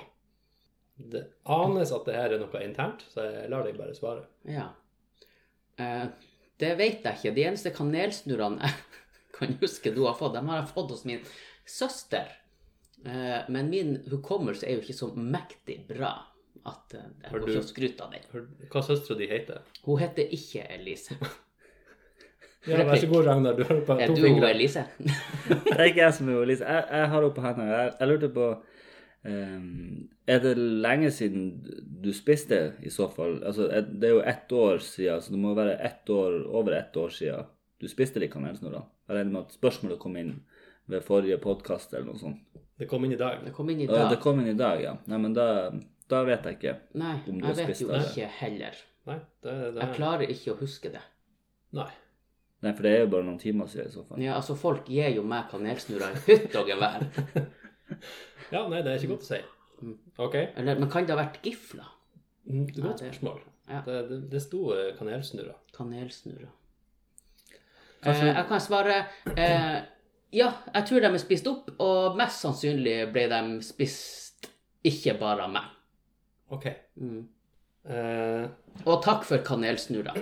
A: Det anes at det her er noe internt, så jeg lar deg bare svare.
B: Ja. Eh, det vet jeg ikke. De eneste kanelsnurrene jeg kan huske du har fått, dem har jeg fått hos min søster. Eh, men min hukommelse er jo ikke så mektig bra at eh, jeg
A: Har
B: går
A: du-
B: ikke og skryter av den.
A: Hør, Hva søstera di heter?
B: Hun heter ikke Elise.
A: Ja, vær så god, Ragnar. Du har på
B: Er
A: to
B: du
A: fingre.
B: Elise?
C: Det er ikke jeg som er Elise. Jeg, jeg har henne på hendene. Jeg, jeg lurte på ehm, Er det lenge siden du spiste, i så fall? Altså, er- det er jo ett år siden, så det må være ett år, over ett år siden du spiste de kanelsnurrene. Jeg regner med at spørsmålet kom inn ved forrige podkast eller noe sånt.
A: Det kom inn i dag.
B: Det kom inn i
C: Og
B: dag.
C: det kom inn i dag, ja. Nei, men da, da vet jeg ikke.
B: Nei,
C: Om du
B: jeg
C: har
B: vet
C: spist
B: jo
C: av det.
B: ikke heller.
A: Nei, det, det
B: Jeg klarer ikke å huske det.
A: Nei.
C: Nei, for det er jo bare noen timer siden i så fall.
B: Ja, altså, folk gir jo meg kanelsnurrer i hytt og gevær.
A: Ja, nei, det er ikke godt å si. OK.
B: Eller, men kan det ha vært gifler?
A: Mm, det er et Godt
B: Mm. Nei, det-
A: spørsmål.
B: ja.
A: Det, det, det sto eh, kanelsnurrer.
B: Kanelsnurrer. Eh, jeg kan svare eh, Ja, jeg tror de er spist opp, og mest sannsynlig ble de spist ikke bare av meg.
A: OK.
B: Mm.
A: Eh,
B: Og takk for kanelsnurrer.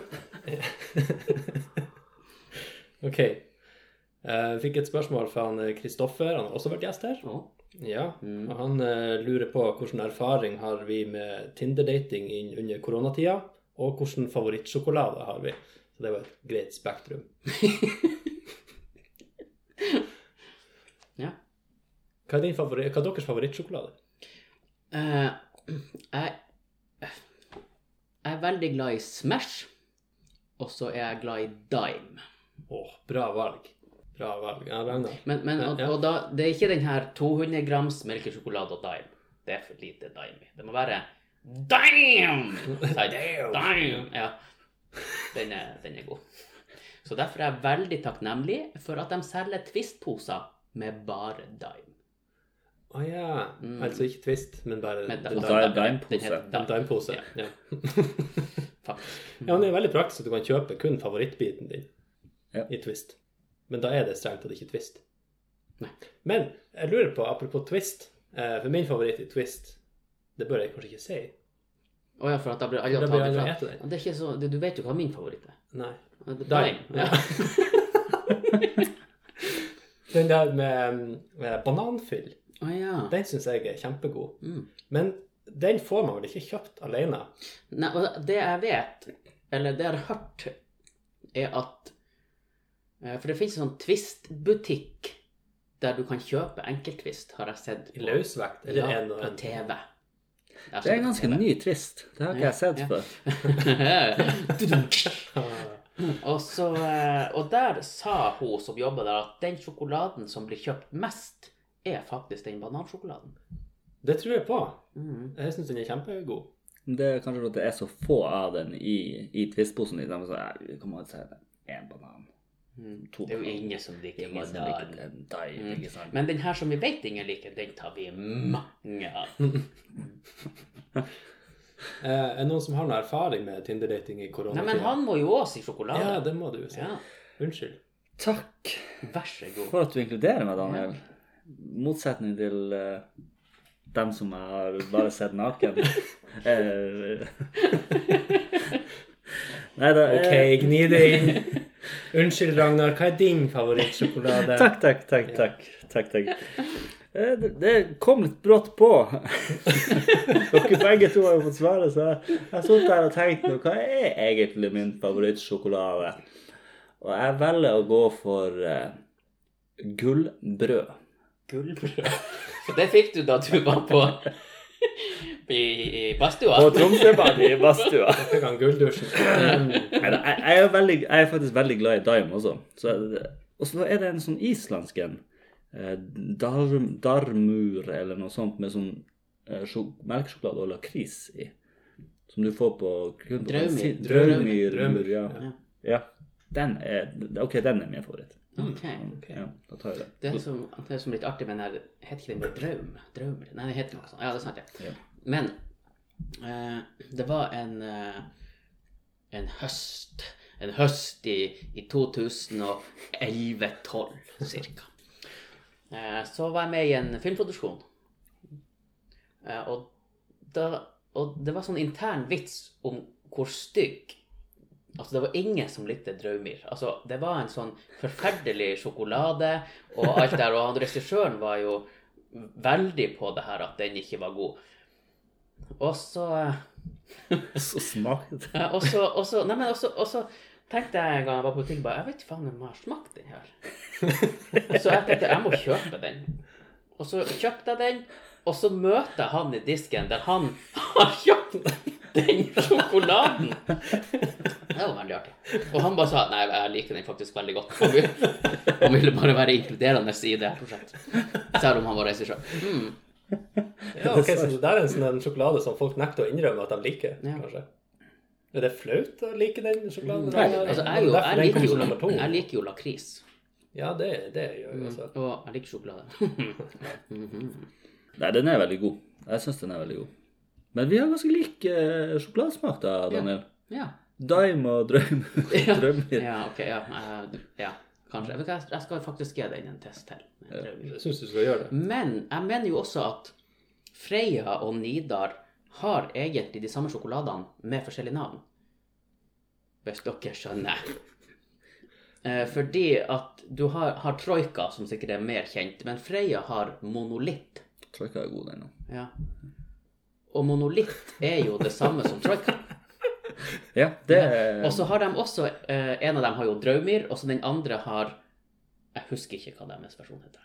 A: OK. Eh, vi fikk et spørsmål fra han, eh, Kristoffer. Han har også vært gjest her.
B: Å,
A: Ja, og Han eh, lurer på hvilken erfaring har vi med Tinder-dating inn under koronatida, og hvilken favorittsjokolade har vi. Så det var et greit spektrum.
B: ja.
A: Hva er, din favori- hva er deres favorittsjokolade?
B: Eh, jeg, jeg er veldig glad i Smash, og så er jeg glad i Dime.
A: Å, bra valg. Bra valg. Ja, Ragnar.
B: Men, men og,
A: Ja.
B: og da, det er ikke den her 200 grams melkesjokolade og Dime. Det er for lite Dime i. Det må være Dime! Dime! Ja. Den er, den er god. Så derfor er jeg veldig takknemlig for at de selger Twist-poser med bare Dime.
A: Å ja.
B: Mm.
A: Altså ikke Twist, men bare
B: Med
A: en
C: da-
A: dime-
C: Dime- Dime-pose.
B: Den heter
A: en Dime-pose.
B: Ja,
A: Ja.
B: faktisk.
A: ja, men det er veldig praktisk at du kan kjøpe kun favorittbiten din
C: Ja.
A: i Twist. Men da er det strengt tatt ikke Twist.
B: Nei.
A: Men jeg lurer på, apropos Twist, eh, for min favoritt i Twist Det bør jeg kanskje ikke si.
B: Å ja, for at da blir alle
A: Da
B: å
A: blir
B: ta det
A: alle
B: fra.
A: etter deg.
B: Ja, Det er ikke så, det, du vet jo hva min favoritt er.
A: Nei.
B: Det er
A: Dime.
B: Dime. Ja.
A: Den der med, med bananfyll,
B: Å ja.
A: den syns jeg er kjempegod.
B: Mm.
A: Men den får man vel ikke kjøpt alene?
B: Nei, og det jeg vet, eller det jeg har hørt, er at eh, For det fins en sånn Twist-butikk der du kan kjøpe enkelttvist, har jeg sett.
A: I løsvekt?
B: Ja,
A: Eller en og
B: på
A: en?
B: TV.
C: Det er en ganske ny twist. Det har ikke jeg sett
B: Ja.
C: før.
B: ganske
A: Ah,
B: Og så eh, Og der sa hun som jobber der, at den sjokoladen som blir kjøpt mest, er faktisk den banansjokoladen.
A: Det tror jeg på.
B: Mm.
A: Jeg syns den er kjempegod.
C: Det er kanskje at det er så få av den i, i twist-posen. De er sånn, «Nei, vi kommer til å se en banan.
B: Mm.
C: To
B: Det er jo
C: bananer.
B: ingen som
C: Det er
B: liker
C: ingen som liker
B: banan.
C: en dime,
B: Mm.
C: ikke sant?
B: Men den her som vi vet ingen liker, den tar vi mange av.
A: Eh, er det noen som har noe erfaring med Tinder-dating i
B: Nei, men
A: koronatida?
B: han må jo også si
A: Sånn Ja,
B: sjokolade.
A: det må du jo si.
B: Ja,
A: Unnskyld.
C: Takk
B: Vær så god.
C: for at du inkluderer meg, Daniel. Motsetning til eh, dem som jeg har bare sett naken. Eh, Nei da.
A: Ok,
C: eh,
A: gni det inn. Unnskyld, Ragnar. Hva er din favorittsjokolade?
C: Takk, takk, takk. takk, takk, takk. Eh, Det, det kom litt brått på. Dere begge to har jo fått svaret, så jeg jeg har sittet her og tenkt nå, hva er egentlig min favorittsjokolade? Og jeg velger å gå for eh, gullbrød.
B: Gullbrød. Så det fikk du da du var på i, i badstua.
C: På Tromsøbadet i badstua.
A: Jeg fikk han gulldusjen.
C: Neida, jeg, jeg, er veldig, jeg er faktisk veldig glad i Dime også. Så, og så er det en sånn islandsk en. eh, Darm, darmur eller noe sånt med sånn eh, sjok- melkesjokolade og lakris i. Som du får på kun på
B: Draumur.
C: bensin-
A: Draumur.
C: Draumur, ja.
B: Ja.
C: ja. Den er, ok, den er min favoritt.
B: Ok.
C: Ja, da tar jeg den.
B: Det er som, det er som litt artig med den her Heter ikke den bare Draum? Draumer? Nei, den heter noe sånt. Ja, det er sant, det.
C: Ja.
B: Men eh, det var en eh, en høst En høst i, i 2011-12, cirka. Eh, så var jeg med i en filmproduksjon. Eh, og, da, og det var sånn intern vits om hvor stygg Altså, det var ingen som likte Draumir. Altså, det var en sånn forferdelig sjokolade og alt der, og han regissøren var jo veldig på det her at den ikke var god. Og så eh,
C: Så smakte det.
B: ja, og så, og så, nei, men også, og så tenkte jeg en gang jeg var på butikken bare, Jeg vet ikke faen om jeg har smakt den her. så jeg tenkte jeg må kjøpe den. Og så kjøpte jeg den, og så møter jeg han i disken der han har kjøpt den sjokoladen. Det var veldig artig. Og han bare sa nei, jeg liker den faktisk veldig godt. Han ville, han ville bare være inkluderende i det her prosjektet. Selv om han var regissør. Mm.
A: Ja, ok, så det der er en sånn en sjokolade som folk nekter å innrømme at de liker,
B: Ja.
A: kanskje? Er det flaut å like den sjokoladen?
B: Nei, altså, jeg, er jo,
A: Derfor
B: jeg,
A: den kom
B: liker
A: som nummer to.
B: jo, jeg liker Mm. jo lakris.
A: Ja, det, det altså, gjør jeg også.
B: Og jeg liker sjokolade.
C: Nei, den er veldig god. Jeg syns den er veldig god. Men vi har ganske lik eh, sjokoladesmak, da, Daniel.
B: Ja.
C: Dime og drøm. Drømmer.
B: ja, ok, ja. eh, ja kanskje. Jeg, vet ikke, jeg skal faktisk gi den en test til.
A: Jeg syns du skal gjøre det.
B: Men jeg mener jo også at Freya og Nidar har egentlig de samme sjokoladene med forskjellige navn. Hvis dere skjønner. Eh, Fordi at du har, har Troika, som sikkert er mer kjent, men Freya har Monolitt.
C: Tror ikke jeg er god den nå.
B: Ja. Og Monolitt er jo det samme som Troika.
C: Ja, det er
B: Og så har de også eh, En av dem har jo Draumir, og så den andre har Jeg husker ikke hva deres versjon heter.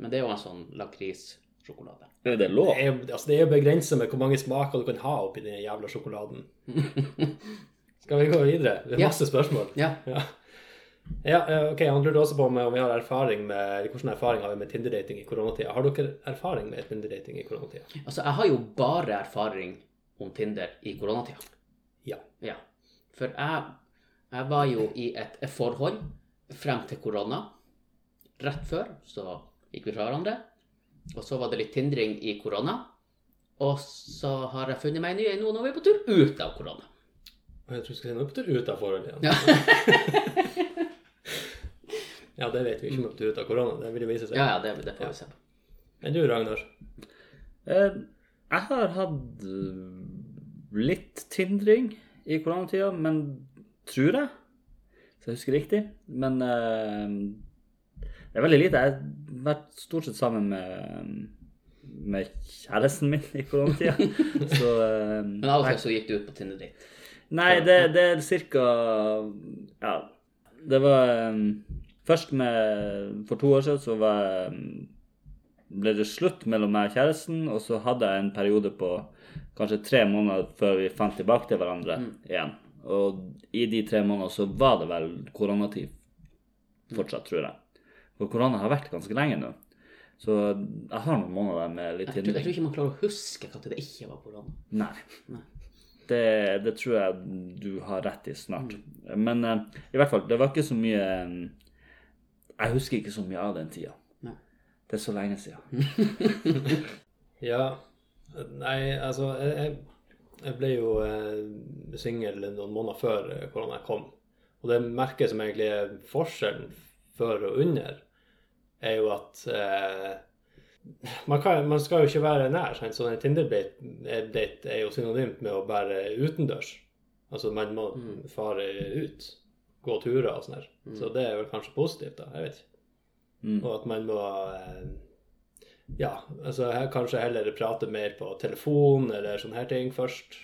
B: Men det er jo en sånn lakrissjokolade.
C: Er det lov?
A: Det er, jo- altså, det er jo begrenset med hvor mange smaker du kan ha oppi den jævla sjokoladen. Skal vi gå videre? Det er
B: Ja.
A: masse spørsmål.
B: Ja.
A: Ja. ja, eh, ok, Han lurte også på om om vi har erfaring med hvordan erfaring har vi med Tinder-dating i koronatida. Har dere erfaring med Tinder-dating i koronatida?
B: Altså, jeg har jo bare erfaring om Tinder i koronatida.
A: Ja.
B: Ja. For jeg, jeg var jo i et et forhold frem til korona. Rett før så gikk vi fra hverandre. Og så var det litt tindring i korona. Og så har jeg funnet meg en ny en nå når vi er på tur ut av korona.
A: Og Jeg tror jeg skal si noe på tur ut av forholdet igjen.
B: Ja.
A: Ja, det vet vi ikke om det blir ut av korona. Det vil jo vise seg.
B: Ja, ja, det, det får vi se på.
A: Men du, Ragnar?
C: Eh, Jeg har hatt eh, litt tindring i koronatida, men tror jeg. Så jeg husker riktig. Men eh, det er veldig lite. Jeg har vært stort sett sammen med, med kjæresten min i koronatida. Så eh,
B: Men av og til så gikk du ut på Tinder-date.
C: Nei, det, det er cirka Ja. Det var um, Først med For to år siden så var jeg, um, ble det slutt mellom meg og kjæresten, og så hadde jeg en periode på kanskje tre måneder før vi fant tilbake til hverandre igjen. Og i de tre månedene så var det vel koronatid fortsatt, tror jeg. For korona har vært ganske lenge nå. Så jeg har noen måneder med litt
B: Jeg tror, jeg tror
C: hindring.
B: ikke man klarer å huske når det ikke var korona.
C: Nei.
B: Nei.
C: Det, det tror jeg du har rett i snart.
B: Mm.
C: Men eh, i hvert fall, det var ikke så mye eh, Jeg husker ikke så mye av den tida.
B: Nei. Mm.
C: Det er så lenge siden.
A: Ja. Nei, altså Jeg, jeg- jeg ble jo eh, singel noen måneder før eh, korona kom. Og det merket som egentlig er forskjellen før og under, er jo at eh, man, kan, man skal jo ikke være nær. Sant? Så en Tinder-date eh, er jo synonymt med å være utendørs. Altså man må fare ut. Gå turer og sånn her. Så det er vel kanskje positivt, da. Jeg vet ikke.
C: Mm.
A: Og at man må eh, ja, altså her kanskje heller prate mer på telefon eller sånne her ting først.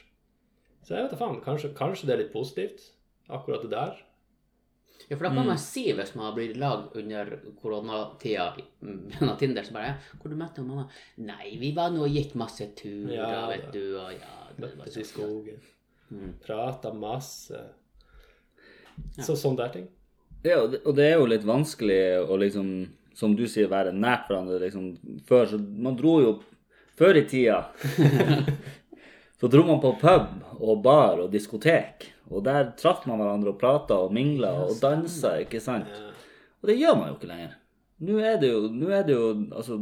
A: Så jeg vet da faen, kanskje, kanskje det er litt positivt, akkurat det der.
B: Ja, for da
A: Mm.
B: kan man si hvis man blir i lag under koronatida mm, gjennom Tinder, så bare 'Hvor du møtte du mamma?' 'Nei, vi var nå og gikk masse turer,
A: Ja,
B: vet
A: da.
B: du', og ja det var
A: Møttes i
B: sånn.
A: skogen,
B: Mm.
A: prata masse. Så sånne der ting.
C: Ja, og det- og det er jo litt vanskelig å liksom, som du sier, være nært hverandre. Liksom. Før så Man dro jo Før i tida så dro man på pub og bar og diskotek. Og der traff man hverandre og prata og mingla og dansa, ikke sant? Og det gjør man jo ikke lenger. Nå er det jo, nå er det jo altså,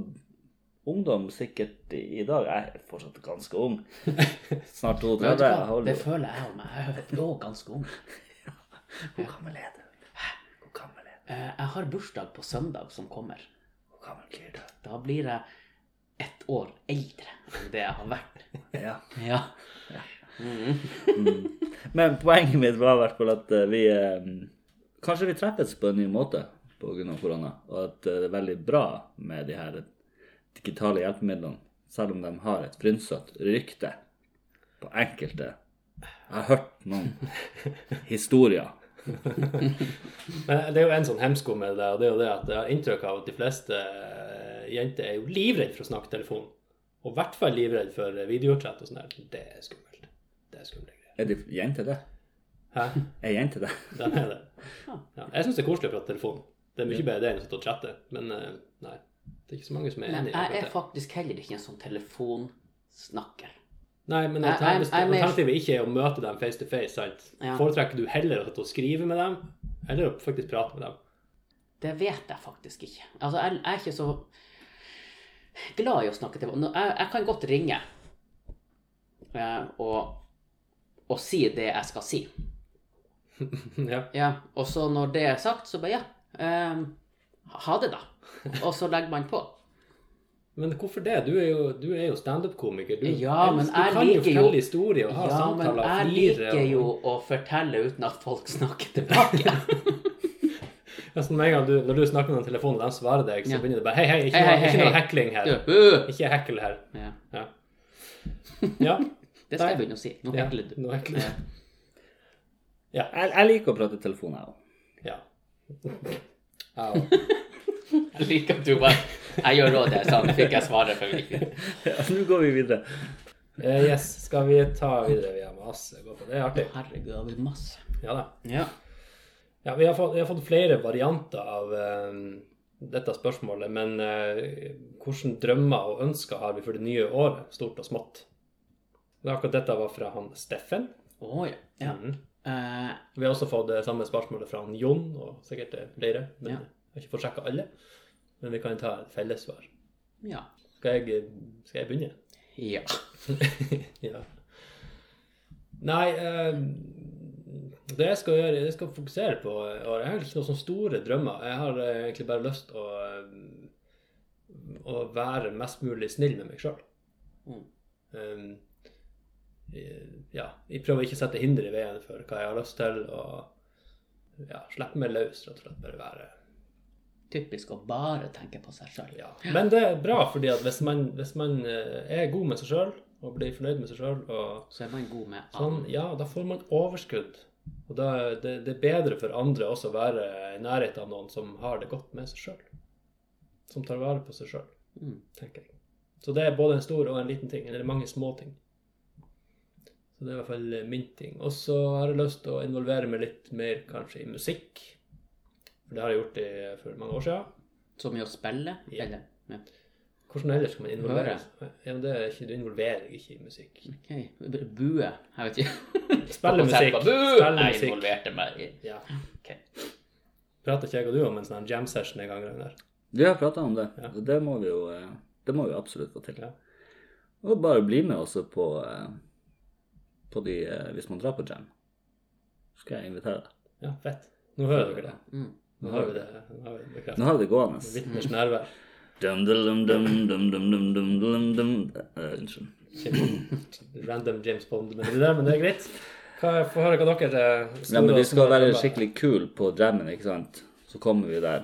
C: Ungdom sikkert i i dag Jeg er fortsatt ganske ung. Snart
B: Men vet du
C: 32. Jeg
B: hva?
C: holder
B: Det
C: jo
B: føler jeg om meg. Jeg er jo ganske ung.
C: Hvor gammel er du? Hæ? Hvor gammel er du?
B: Eh, Jeg har bursdag på søndag som kommer.
C: Hvor gammel blir du?
B: Da blir jeg ett år eldre enn det jeg har vært.
C: Ja.
B: Ja.
C: Men poenget mitt var i hvert fall at eh, vi eh, Kanskje vi treffes på en ny måte pga. korona, og at eh, det er veldig bra med de her digitale hjelpemidlene, selv om de har et frynsete rykte på enkelte. Jeg har hørt noen historier.
A: Men det er jo en sånn hemsko med det der, og det er jo det at jeg har inntrykk av at de fleste eh, jenter er jo livredd for å snakke telefon. Og i hvert fall livredd for eh, videochat og sånn der. Det er skummelt. Det er skumle greier.
C: Er det jenter, det?
A: Hæ?
C: Er jenter det?
A: Den er det. Ja, jeg syns det er koselig å prate telefon. Det er mye bedre det enn å sitte og chatte. Men eh, nei, det er ikke så mange som er
B: Men
A: enig i
B: jeg er
A: akkurat det.
B: faktisk heller ikke en sånn telefonsnakker.
A: Nei, men
B: jeg- jeg-
A: alternativ-
B: jeg er mer-
A: alternativet ikke er å møte dem face to face, sant?
B: Ja.
A: Foretrekker du heller å sitte og skrive med dem, eller å faktisk prate med dem?
B: Det vet jeg faktisk ikke. Altså, jeg, jeg er ikke så glad i å snakke til Nå, jeg, jeg kan godt ringe eh, og, og si det jeg skal si.
A: ja.
B: Ja, og så når det er sagt, så bare ja. eh, ha det, da. Og så legger man på.
A: Men hvorfor det? Du er jo, du er jo standup-komiker. Du,
B: Ja, men
A: du
B: jeg
A: kan
B: liker jo-
A: jo fortelle historier og ha
B: Ja, men
A: samtaler og
B: jeg
A: flire
B: liker
A: og-
B: jo å fortelle uten at folk snakker tilbake.
A: Ja, sånn med en gang du, Når du snakker med noen i telefonen, og de svarer deg, så
B: Ja.
A: begynner du bare Hei, hei, ikke,
B: Hei, hei,
A: noe- ikke
B: hei,
A: noe
B: hei.
A: hekling her.
B: Du, øh!
A: Ikke hekkel her.
B: Ja,
A: Ja. ja.
B: det skal jeg begynne å si. Nå
A: ja.
B: hekler du.
A: Nå hekler du.
C: Jeg, jeg liker å prate i telefon, jeg òg.
A: Ja. Au.
B: Jeg liker at du bare Jeg gjør òg det, sånn fikk jeg svaret for meg.
C: Nå går vi videre.
A: Eh, yes, skal vi ta videre via masse? Gå på det, det er artig.
B: Herregud, det har blitt masse.
A: Ja da.
B: Ja.
A: Ja, vi, har fått, vi har fått flere varianter av eh, dette spørsmålet, men eh, hvilke drømmer og ønsker har vi for det nye året, stort og smått? Det er akkurat dette var fra han Steffen.
B: Å ja. ja.
A: Mhm.
B: Eh,
A: Vi har også fått det samme spørsmålet fra han Jon, og sikkert eh, flere. Men
B: Ja.
A: Jeg har ikke fått sjekka alle, men vi kan ta et felles svar.
B: ja.
A: Skal jeg, skal jeg begynne?
B: Ja.
A: ja. Nei eh, ehm, Det jeg skal gjøre, jeg skal fokusere på og Jeg har egentlig ikke noen sånne store drømmer. Jeg har eh, egentlig bare lyst til å, eh, å være mest mulig snill med meg sjøl.
B: Mm.
A: ja. Jeg prøver ikke å sette hinder i veien for hva jeg har lyst til, og ja, slippe meg løs, rett og slett. Bare være
B: Typisk å bare tenke på seg sjøl.
A: ja. Men det er bra, fordi at hvis man, hvis man eh, er god med seg sjøl og blir fornøyd med seg sjøl og
B: Så er man god med
A: Sånn, ja, da får man overskudd. Og da, det, det er bedre for andre også å være i nærheten av noen som har det godt med seg sjøl. Som tar vare på seg sjøl,
B: Mm.
A: tenker jeg. Så det er både en stor og en liten ting. Eller mange små ting. Så det er i hvert fall eh, min ting. Og så har jeg lyst til å involvere meg litt mer kanskje i musikk. For det har jeg gjort i, for mange år siden.
B: Som i å spille,
A: Ja.
B: eller? Ja.
A: Hvordan ellers skal man involvere seg? Ja, men det er ikke, du involverer deg ikke i musikk.
B: Ok, Bue? Jeg vet ikke.
A: Spille musikk.
B: Bue!
A: Spille
B: Jeg
A: musikk.
B: involverte meg i
A: Ja.
B: Ok.
A: Prater ikke jeg og du om en sånn jam session en gang? Ragnar?
C: Vi har prata om det,
A: Ja.
C: og det må vi jo eh, det må vi absolutt få til.
A: Ja.
C: Og bare bli med også på, eh, på de eh, Hvis man drar på jam, skal jeg invitere deg.
A: Ja, fett. Nå hører dere det.
B: Mm.
A: Nå har vi det, nå har vi det
C: Nå
A: bekreftet.
C: har vi det gående.
A: Vitners nærvær.
C: Dum, dum, dum, dum, dum, dum, dum, dum, dum. Eh, Unnskyld.
A: Ikke Random James Bond, men det, der, men det er greit. Hva, få høre hva dere eh,
C: Ja, men
A: store og
C: vi
A: små
C: skal være
A: jobber.
C: skikkelig kul på jammen, ikke sant? Så kommer vi der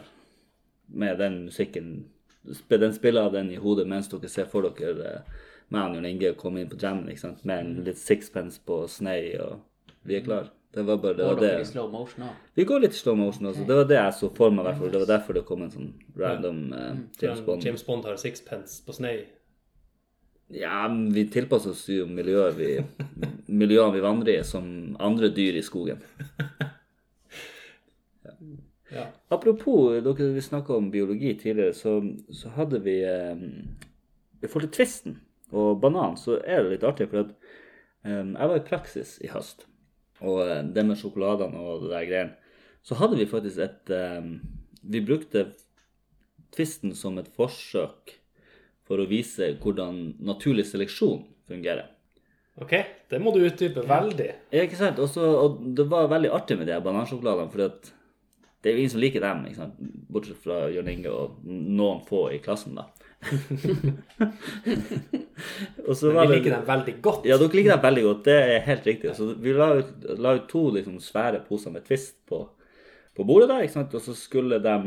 C: med den musikken. Sp- Den spiller av den i hodet mens dere ser for dere eh, meg og Jon Inge komme inn på jammen, ikke sant? Med en litt sixpence på snei, og vi er klar. Det var bare det.
B: Går
C: Var
B: dere i
C: det.
B: slow motion òg?
C: Vi går litt i slow motion også. Det var det jeg så for meg, derfor. Det var derfor det kom en sånn random eh, James
A: James Bond.
C: Bond.
A: har sixpence på snei.
C: Ja, men vi tilpasser oss jo miljøet vi, miljøene vi vandrer i, som andre dyr i skogen.
A: Ja.
C: Apropos dere vi snakka om biologi tidligere, så, så hadde vi eh, I forhold til tvisten og banan, så er det litt artig, for at eh, jeg var i praksis i høst, og eh, det med sjokoladene og det der greiene, så hadde vi faktisk et eh, Vi brukte tvisten som et forsøk for å vise hvordan naturlig seleksjon fungerer.
A: OK, det må du utdype veldig.
C: Ja, ikke sant? Og så- og det var veldig artig med de banansjokoladene, for det er jo ingen som liker dem, ikke sant? bortsett fra Jørn Inge og noen få i klassen, da. og så
A: Vi
C: var det-
A: liker dem veldig godt.
C: Ja, dere liker dem veldig godt, det er helt riktig. Så vi la ut, la ut to liksom, svære poser med Twist på, på bordet der, ikke sant? og så skulle de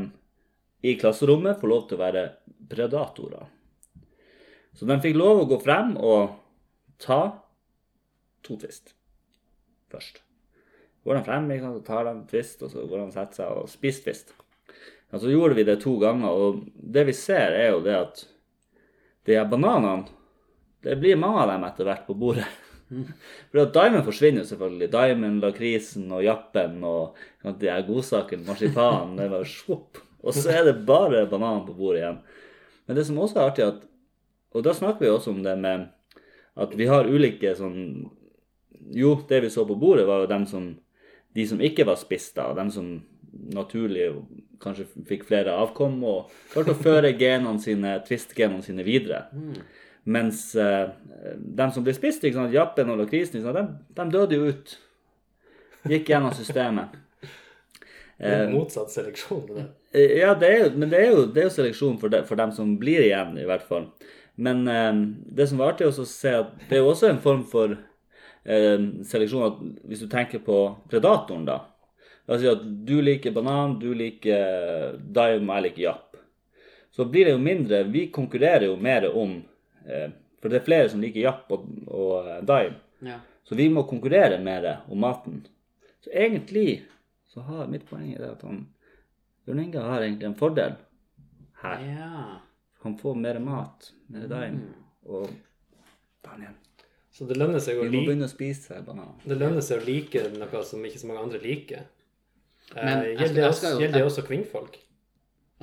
C: i klasserommet få lov til å være predatorer. Så de fikk lov å gå frem og ta to Twist først. Går de frem, ikke sant, så tar de Twist, og så går de og setter seg og spiser Twist. Ja, så gjorde vi det to ganger, og det vi ser er jo det at de her bananene, det blir mange av dem etter hvert på bordet. For at Diamond forsvinner jo selvfølgelig. Diamond, lakrisen og jappen og ikke sant, de her godsakene, marsipanen, det var svopp. Og så er det bare banan på bordet igjen. Men det som også er artig, er at Og da snakker vi også om det med at vi har ulike sånn Jo, det vi så på bordet, var jo dem som De som ikke var spist, da, og dem som naturlig kanskje fikk flere avkom og klarte å føre genene sine, twist-genene sine videre. Mens eh, de som ble spist, ikke sant, jappen og lakrisen, ikke sant, de, de døde jo ut. Gikk gjennom systemet.
A: Det er Motsatt seleksjon. det der.
C: Eh, Ja, det er jo, men det er jo, det er jo seleksjon for, de, for dem som blir igjen, i hvert fall. Men eh, det som var artig også å se, at det er jo også en form for eh, seleksjon at hvis du tenker på predatoren, da. La oss si at du liker banan, du liker daim, og jeg liker japp. Så blir det jo mindre Vi konkurrerer jo mer om eh, For det er flere som liker japp og, og eh, daim.
B: Ja.
C: Så vi må konkurrere mer om maten. Så egentlig så har mitt poeng i det at han Bjørn Inge har egentlig en fordel her.
B: ja.
C: Han får mer mat, mer daim, og Daniel.
A: Så det lønner seg å
C: Vi må
A: like
C: begynne å spise banan.
A: det lønner seg å like noe som ikke så mange andre liker.
B: Men
A: Eh,
B: jeg
A: gjelder
B: skal-
A: det
B: jeg
A: også,
B: skal jo-
A: gjelder det også kvinnfolk?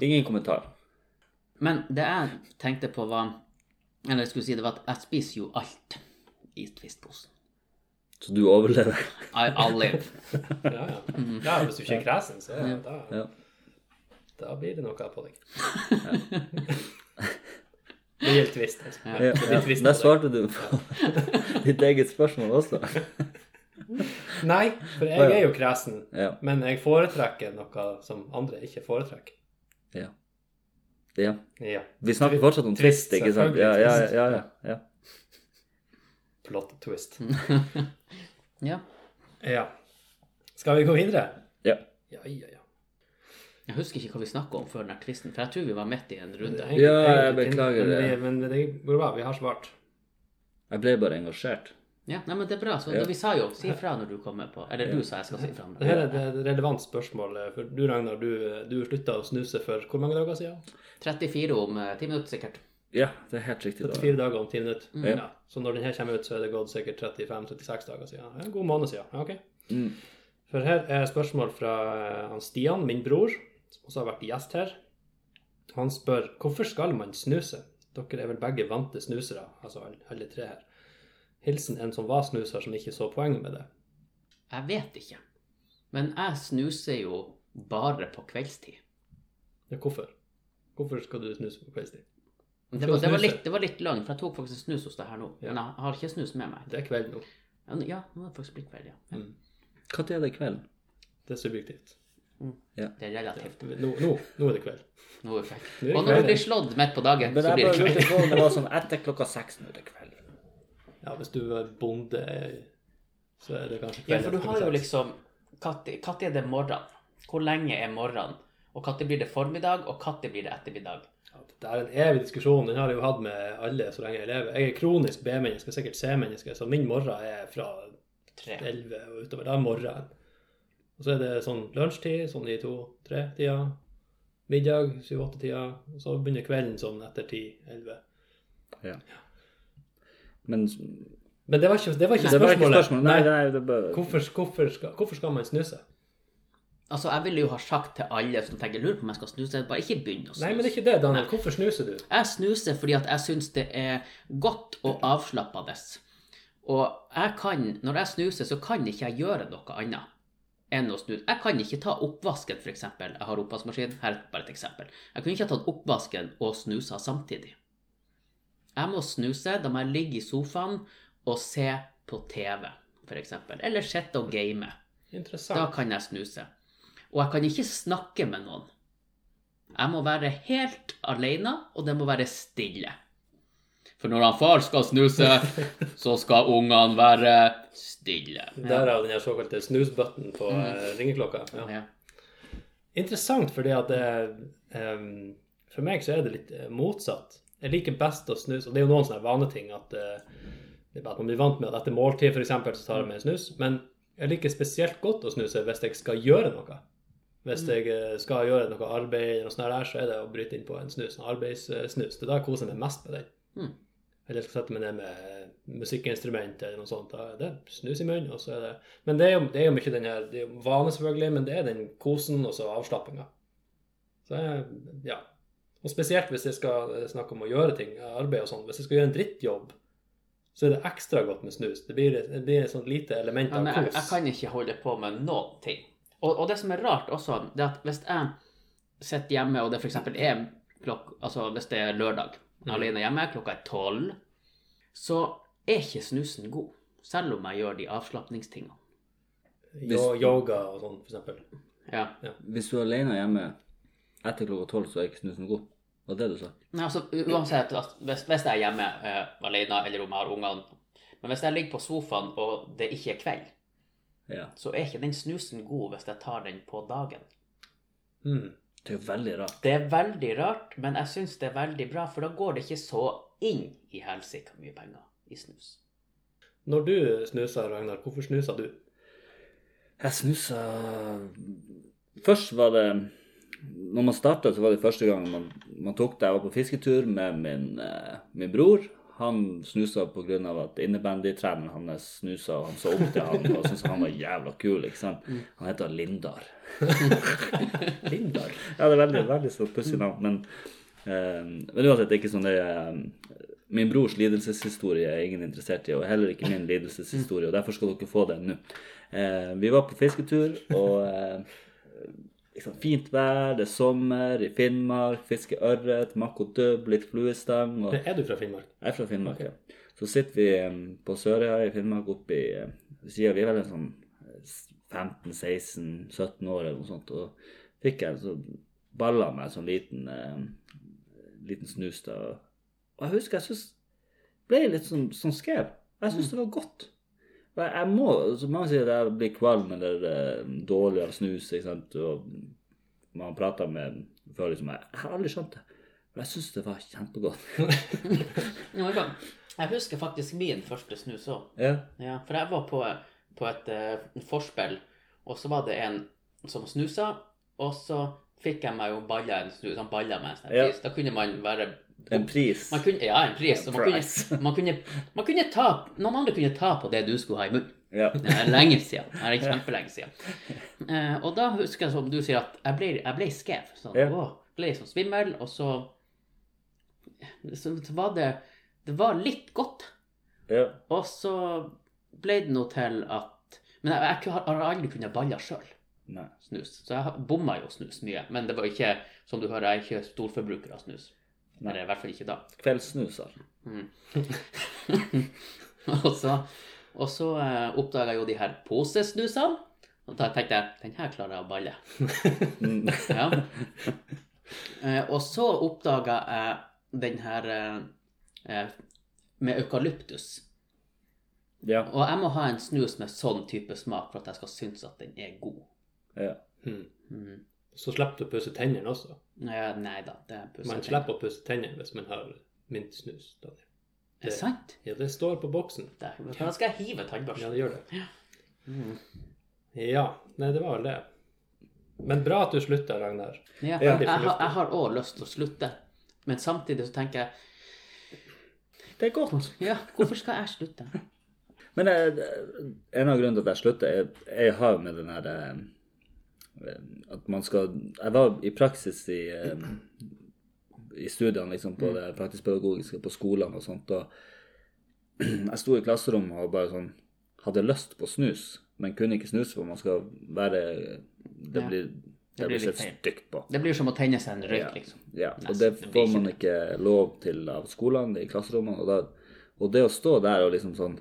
C: Ingen kommentar.
B: Men det jeg tenkte på, var Eller jeg skulle si det var at jeg spiser jo alt i Twist-posen.
C: Så du overlever.
B: I, I'll live.
A: Ja, ja. ja hvis du ikke er kresen, så ja, da,
C: Ja.
A: da blir det noe på deg. Det gjelder tvist. Altså.
C: Ja,
A: Så
C: ja.
A: litt trist
C: Der
A: på
C: svarte du på ditt eget spørsmål også.
A: Nei, for jeg er jo kresen.
C: Ja.
A: Men jeg foretrekker noe som andre ikke foretrekker.
C: ja. ja.
A: Ja.
C: Vi snakker fortsatt om
A: Trist,
C: trist, ikke sant? Ja,
A: selvfølgelig
C: ja,
A: trist.
C: ja, ja, ja.
A: Plot twist.
C: Mm.
B: Ja.
A: Ja. Skal vi gå videre?
C: ja.
A: Ja, ja, ja.
B: Jeg husker ikke hva vi snakka om før den her tvisten, for jeg tror vi var midt i en runde.
A: Egentlig-
C: Ja, jeg
A: egentlig-
C: beklager det.
A: Men, vi, men det går bra. Vi har svart.
C: Jeg ble bare engasjert.
B: Ja, nei, men det er bra. Så
C: Ja.
B: Vi sa jo 'si ifra' når du kommer på Eller du sa 'jeg skal si ifra'.
A: Det her er et- et relevant spørsmål. eh, For du, Ragnar, du, eh, du slutta å snuse for hvor mange dager siden?
B: 34 om eh, 10 minutter, sikkert.
C: Ja, det er helt riktig. da.
A: 34 dager om 10 minutter.
B: Mm.
A: Ja. Så når denne kommer ut, så er det gått sikkert 35-36 dager siden. Ja, En god måned siden. Ja, ok.
C: Mm.
A: For her er spørsmål fra eh, han Stian, min bror, som også har vært gjest her. Han spør hvorfor skal man snuse? Dere er vel begge vante snusere, altså alle- alle tre her. Hilsen en som var snuser, som ikke så poenget med det.
B: Jeg vet ikke. Men jeg snuser jo bare på kveldstid.
A: Ja, hvorfor? Hvorfor skal du snuse på kveldstid?
B: Det
A: Skal
B: var,
A: du
B: det, var
A: snuse?
B: litt, det var litt langt, for jeg tok faktisk snus hos deg her nå.
A: Ja.
B: Men jeg har ikke snus med meg.
A: Det er kveld nå.
B: Ja, nå- Ja, nå er det faktisk blitt kveld, ja.
A: Mm.
C: Når er det i kveld?
A: Det er subjektivt.
B: Det er relativt.
A: Nå, nå, nå er det kveld.
B: Nå er det kveld.
A: Nå er det
B: Og når
A: kveld.
B: du blir slått midt på dagen,
C: Men
B: så
C: jeg
B: blir
C: bare
B: det
C: lurte
B: kveld.
C: på om det var sånn etter klokka seks nå er det kveld.
A: Ja, hvis du er bonde, så er det kanskje kveld.
B: Ja, for du
A: etter
B: har jo
A: seks.
B: liksom Når er det morgen? Hvor lenge er morgen? Og når blir det formiddag, og når blir det ettermiddag?
A: Ja, Det er en evig diskusjon. Den har jeg jo hatt med alle så lenge jeg lever. Jeg er kronisk B-menneske, sikkert C-menneske, så min morgen er fra
B: Tre.
A: 11 og utover. Da er morgenen. Og så er det sånn lunsjtid, sånn i to-tre-tida. Middag, syv-åtte-tida. Og så begynner kvelden sånn etter ti-elleve.
C: Ja. Men
A: Men det var ikke, det var ikke
C: det var
A: spørsmålet.
C: ikke spørsmålet. Nei, nei, det bare...
A: Hvorfor, hvorfor, skal, hvorfor skal man snuse?
B: Altså, jeg ville jo ha sagt til alle som tenker lurer på om jeg skal snuse, bare ikke begynn å snuse.
A: Nei, men det er ikke det, Daniel. Hvorfor snuser du?
B: Jeg snuser fordi at jeg syns det er godt og avslappende. Og jeg kan, når jeg snuser, så kan ikke jeg gjøre noe annet enn å snuse. Jeg kan ikke ta oppvasken, f.eks. Jeg har oppvaskmaskin. Her er bare et eksempel. Jeg kunne ikke ha tatt oppvasken og snusa samtidig. Jeg må snuse. Da må jeg ligge i sofaen og se på TV, f.eks. Eller sitte og game. Da
A: Interessant.
B: kan jeg snuse. Og jeg kan ikke snakke med noen. Jeg må være helt alene, og det må være stille. For når han far skal snuse, så skal ungene være stille.
A: Der er den her såkalte snusbutton på eh, ringeklokka. Ja.
B: Ja.
A: Interessant, fordi at det, ehm, For meg så er det litt eh, motsatt. Jeg liker best å snuse, og det er jo noen sånne vaneting at eh, det er bare at man blir vant med at etter måltid f.eks. så tar jeg meg en snus. Men jeg liker spesielt godt å snuse hvis jeg skal gjøre noe. Hvis jeg eh, skal gjøre noe arbeid, eller noe sånt der, så er det å bryte inn på en snus, en arbeidssnus. Det er da jeg koser meg mest med den.
B: Mm.
A: Eller jeg skal sette meg ned med musikkinstrument eller noe sånt. Da er det snus i munnen, og så er det men det er jo, det er jo mye den her Det er jo vane, selvfølgelig, men det er den kosen og så avslappinga. Så jeg, ja. Og spesielt hvis jeg skal eh, snakke om å gjøre ting, arbeid og sånn. Hvis jeg skal gjøre en drittjobb, så er det ekstra godt med snus. Det blir, det blir et sånt lite element
B: Ja,
A: av
B: men jeg, jeg
A: kos.
B: kan ikke holde på med noen ting. Og, og det som er rart også, det er at hvis jeg sitter hjemme, og det f.eks. er klokk, altså hvis det er lørdag,
A: Mm.
B: alene hjemme, klokka er tolv, så er ikke snusen god. Selv om jeg gjør de avslapningstingene.
A: Jo- Yoga og sånn, for eksempel.
B: Ja.
C: Hvis du er alene hjemme etter klokka tolv, så er ikke snusen god. Var det du sa?
B: Nei, altså u- uansett, altså, hvis, hvis jeg er hjemme eh, alene, eller om jeg har ungene Men hvis jeg ligger på sofaen og det ikke er kveld,
C: Ja.
B: så er ikke den snusen god hvis jeg tar den på dagen.
A: Mm.
C: Det er jo veldig rart.
B: Det er veldig rart, men jeg syns det er veldig bra, for da går det ikke så inn i helsike mye penger i snus.
A: Når du snuser, Ragnar, hvorfor snuser du?
C: Jeg snusa Først var det Når man starta, så var det første gang man, man tok det. Jeg var på fisketur med min, eh, min bror. Han snusa pga. at innebandytreneren hans snusa, og han så opp til han og syntes han var jævla kul. ikke sant? Han heter Lindar.
A: Lindar?
C: Ja, det er veldig, veldig så pussig navn. Men, eh, men uansett, det er ikke sånn det er Min brors lidelseshistorie er ingen interessert i, og heller ikke min lidelseshistorie, og derfor skal dere få den nå. Eh, vi var på fisketur, og eh, liksom, fint vær, det er sommer i Finnmark, fiske ørret, makk og dubb, litt fluestang. Og,
A: Er du fra Finnmark?
C: jeg er fra Finnmark, ja. Så sitter vi eh, på Sørøya i Finnmark oppe i eh, siden- Vi er vel en sånn 15-16-17 år eller noe sånt, og fikk jeg så balla meg som liten, eh, liten snus da. Og jeg husker jeg synes, ble litt sånn, sånn skrev. Jeg synes det var godt. Og jeg, jeg må, så mange sier at jeg blir kvalm eller eh, dårlig av snus, ikke sant, og man prater med før liksom, jeg, jeg har aldri skjønt det. Men jeg synes det var kjempegodt.
B: Ja, men bra. Jeg husker faktisk min første snus òg.
C: Ja,
B: Ja, for jeg var på, på et eh, forspill, og så var det en som snusa, og så fikk jeg meg jo balla en snus. Han balla meg en sånn
C: Ja.
B: pris. Da kunne man være
C: en pris.
B: man kunne, Ja, en pris. Og man
C: Price.
B: kunne, man kunne, man kunne ta Noen andre kunne ta på det du skulle ha i munnen.
C: Ja.
B: Det er lenge siden. Det er kjempelenge siden. Eh, og da husker jeg, som du sier, at jeg ble, jeg ble skrev. Sånn,
C: Ja.
B: åh, ble sånn svimmel, og så, så, så var det Det var litt godt.
C: Ja.
B: Og så ble det nå til at Men jeg, jeg har har aldri kunnet balla sjøl
C: Nei.
B: snus. Så jeg har- bomma jo snus mye. Men det var ikke, som du hører, jeg er ikke storforbruker av snus.
C: Nei.
B: Eller i hvert fall ikke da.
C: Kveldssnuser.
B: Mm. og så, og så eh, oppdaga jeg jo de her posesnusene. Og da tenkte jeg den her klarer jeg å balle.
C: Mm.
B: Ja. Eh, og så oppdaga jeg den her eh, eh, med eukalyptus.
C: Ja.
B: Og jeg må ha en snus med sånn type smak for at jeg skal synes at den er god.
C: ja.
A: Mm.
B: Mm.
A: Så slipper du å pusse tennene også.
B: Eh, Nei da, det er
A: Man slipper å pusse tennene hvis man har mintsnus. Daniel.
B: Er det sant?
A: Ja, det står på boksen.
B: Det, da skal jeg
A: Ja,
B: hive tannbørsten.
A: det gjør det.
B: Mm.
A: Ja, nei, det var vel det. Men bra at du slutta, Ragnar.
B: Ja,
C: Ja.
B: jeg, har- jeg har òg lyst til å slutte, men samtidig så tenker jeg
C: Det er godt.
B: Ja, hvorfor skal jeg slutte?
C: Men eh, en av grunnene til at jeg slutter, er jeg har med den her eh, At man skal Jeg var i praksis i, eh, i studiene liksom,
B: Mm.
C: på det praktisk-pedagogiske, på skolene og sånt, og jeg sto i klasserommet og bare sånn hadde lyst på snus, men kunne ikke snuse, for man skal være eh, Det
B: Ja.
C: blir, det
B: blir
C: blir
B: litt
C: sett stygt på.
B: Det blir som å tenne seg en røyk, liksom.
C: Ja, og
B: Nesten.
C: det
B: Det blir
C: får
B: ikke
C: man
B: det.
C: ikke lov til av skolene i klasserommene. Og, da, og det å stå der og liksom sånn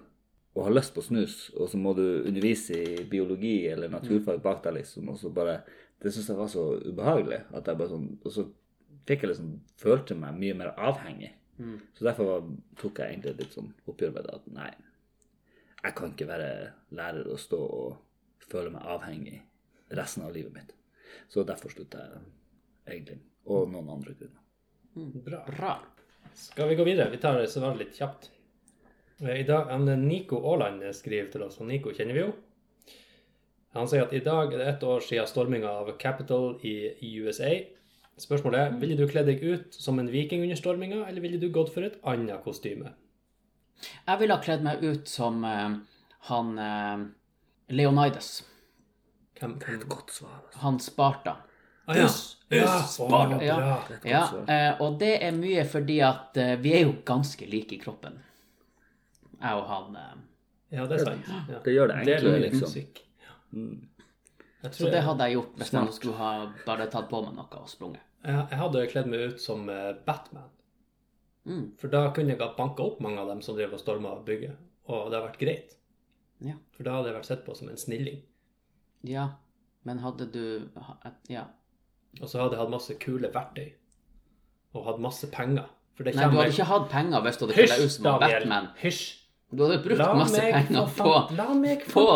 C: og ha lyst på snus, og så må du undervise i biologi eller
B: Mm.
C: naturfag bak deg, liksom, og så bare Det syns jeg var så ubehagelig. at jeg bare sånn, Og så fikk jeg liksom Følte meg mye mer avhengig.
B: Mm.
C: Så derfor var, tok jeg egentlig litt sånn oppgjør med det at nei, jeg kan ikke være lærer og stå og føle meg avhengig resten av livet mitt. Så derfor slutta jeg egentlig. Og noen andre grunner.
A: Bra.
B: Bra.
A: Skal vi gå videre? Vi tar det så var det litt kjapt. Eh, I dag, han, Nico Aaland skriver til oss, og Nico kjenner vi jo. Han sier at i dag er det ett år siden storminga av Capitol i i USA. Spørsmålet er, ville du kle deg ut som en viking under storminga, eller ville du gått for et annet kostyme?
B: Jeg ville ha kledd meg ut som eh, han eh, Leonidas.
A: Hvem, hvem?
C: Godt svar. altså.
B: Han Sparta.
A: Ah, ja. Ja, å,
B: Sparta, ja.
A: bra.
B: Ja,
C: svar.
B: eh, og det er mye fordi at eh, vi er jo ganske like i kroppen. Jeg og han. eh.
A: Ja, det er sant. Ja.
C: Det gjør det
A: Del
C: enklere,
A: av
C: liksom. Mm.
A: musikk. Jeg
B: Så
A: tror
B: det
A: jeg,
B: hadde jeg gjort hvis jeg skulle ha bare tatt på meg noe og sprunget.
A: jeg hadde kledd meg ut som eh, Batman.
B: Mm.
A: For da kunne jeg ha banka opp mange av dem som drev og storma bygget, og det hadde vært greit.
B: Ja.
A: For da hadde jeg vært sett på som en snilling.
B: ja. Men hadde du ha- et- Ja.
A: Og så hadde jeg hatt masse kule verktøy. Og hatt masse penger. For det
B: Nei, du
A: kommer
B: hadde ikke hatt penger hvis du hadde kledd deg ut
A: Hysj,
B: som
A: Daniel!
B: Batman.
A: Hysj!
B: Du hadde brukt masse penger
A: få
B: på,
A: faen- La meg
B: på
A: få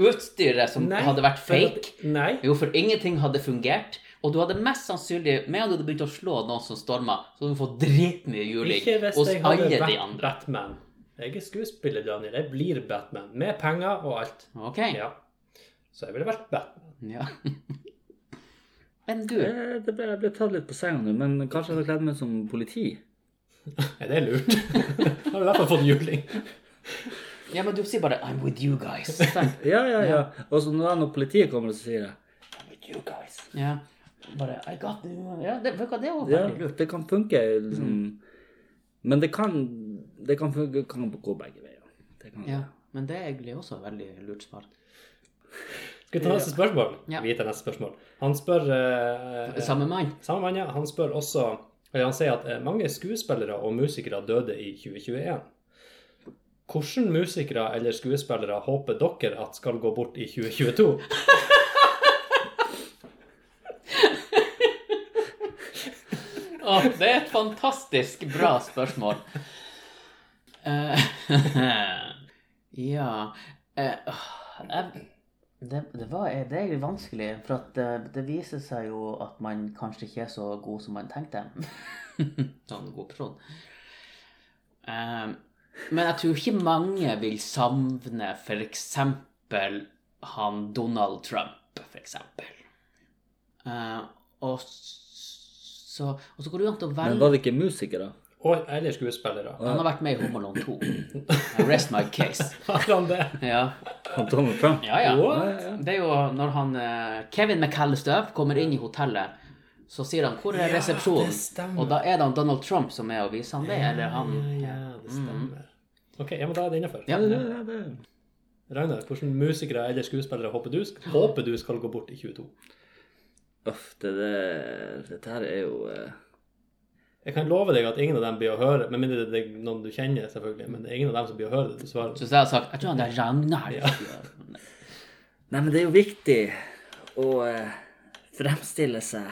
B: utstyret som
A: Nei,
B: hadde vært
A: for at-
B: fake.
A: Nei.
B: Jo, for ingenting hadde fungert. Og du hadde mest sannsynlig, med en gang du hadde begynt å slå noen som storma, så hadde du fått dritmye juling
A: Ikke hvis
B: hos
A: jeg hadde
B: alle de
A: vært
B: andre.
A: Batman. Jeg er skuespiller, Daniel. Jeg blir Batman. Med penger og alt.
B: Ok. Ja.
A: Ja. Så jeg ville vært Batman.
B: Men du,
C: Eh, Det ble, jeg ble tatt litt på senga nå, men kanskje jeg hadde kledd meg som politi?
A: Er det lurt? Har du i hvert fall fått juling.
B: ja, men du sier bare 'I'm with you guys'. sant?
C: Ja, ja, ja. Og så når, når politiet kommer, så sier jeg I'm with you guys.
B: Ja. Bare 'I got you'. Ja, Mm. det, vet du hva, det var
C: Ja,
B: veldig lurt.
C: det kan funke. Liksom. Men det kan, det kan, funke, kan gå begge veier. Det kan,
B: Ja, men det er egentlig også et veldig lurt svar.
A: Skal vi ta neste spørsmål?
B: Ja.
A: Vi tar neste spørsmål. Han spør eh, eh,
B: Samme mann.
A: Samme mann, ja. Han spør også eller Han sier at eh, mange skuespillere og musikere døde i 2021. Hvilke musikere eller skuespillere håper dere at skal gå bort i 2022?
B: Åh, det er et fantastisk bra spørsmål. Eh, ja eh, åh, jeg, det, det, var, det er jo vanskelig, for at det, det viser seg jo at man kanskje ikke er så god som man tenkte. sånn god person. Eh, men jeg tror ikke mange vil savne f.eks. han Donald Trump, f.eks. Uh, og s- så, og så går det jo an å
C: Men
B: velge
C: var det ikke musikere?
A: Og, eller skuespillere?
B: Han har vært med i Home Alone 2. I Rest my case.
A: Har han det?
B: Ja,
C: Han Donald Trump?
B: ja. ja.
A: What?
B: Det er jo når han eh, Kevin McAllister kommer inn i hotellet, så sier han 'Hvor er
A: Ja,
B: resepsjonen?'
A: det stemmer.
B: og da er det han Donald Trump som er og viser han det, eller han
A: Ja, ja, det stemmer. Mm. Ok, ja, men da er det innafor.
B: Ja.
C: Ja, det, det, det.
A: Ragnar, hvilke musikere eller skuespillere håper du, sk- håper du skal gå bort i 22?
C: Uff, det, det, dette her er jo eh,
A: Jeg kan love deg at ingen av dem blir å høre, med mindre det er noen du kjenner, selvfølgelig. Men det er ingen av dem som blir å høre det,
B: Så
A: dessverre.
B: hvis jeg hadde sagt 'Jeg tror han der Ragnar'
C: Nei, men det er jo viktig å eh, fremstille seg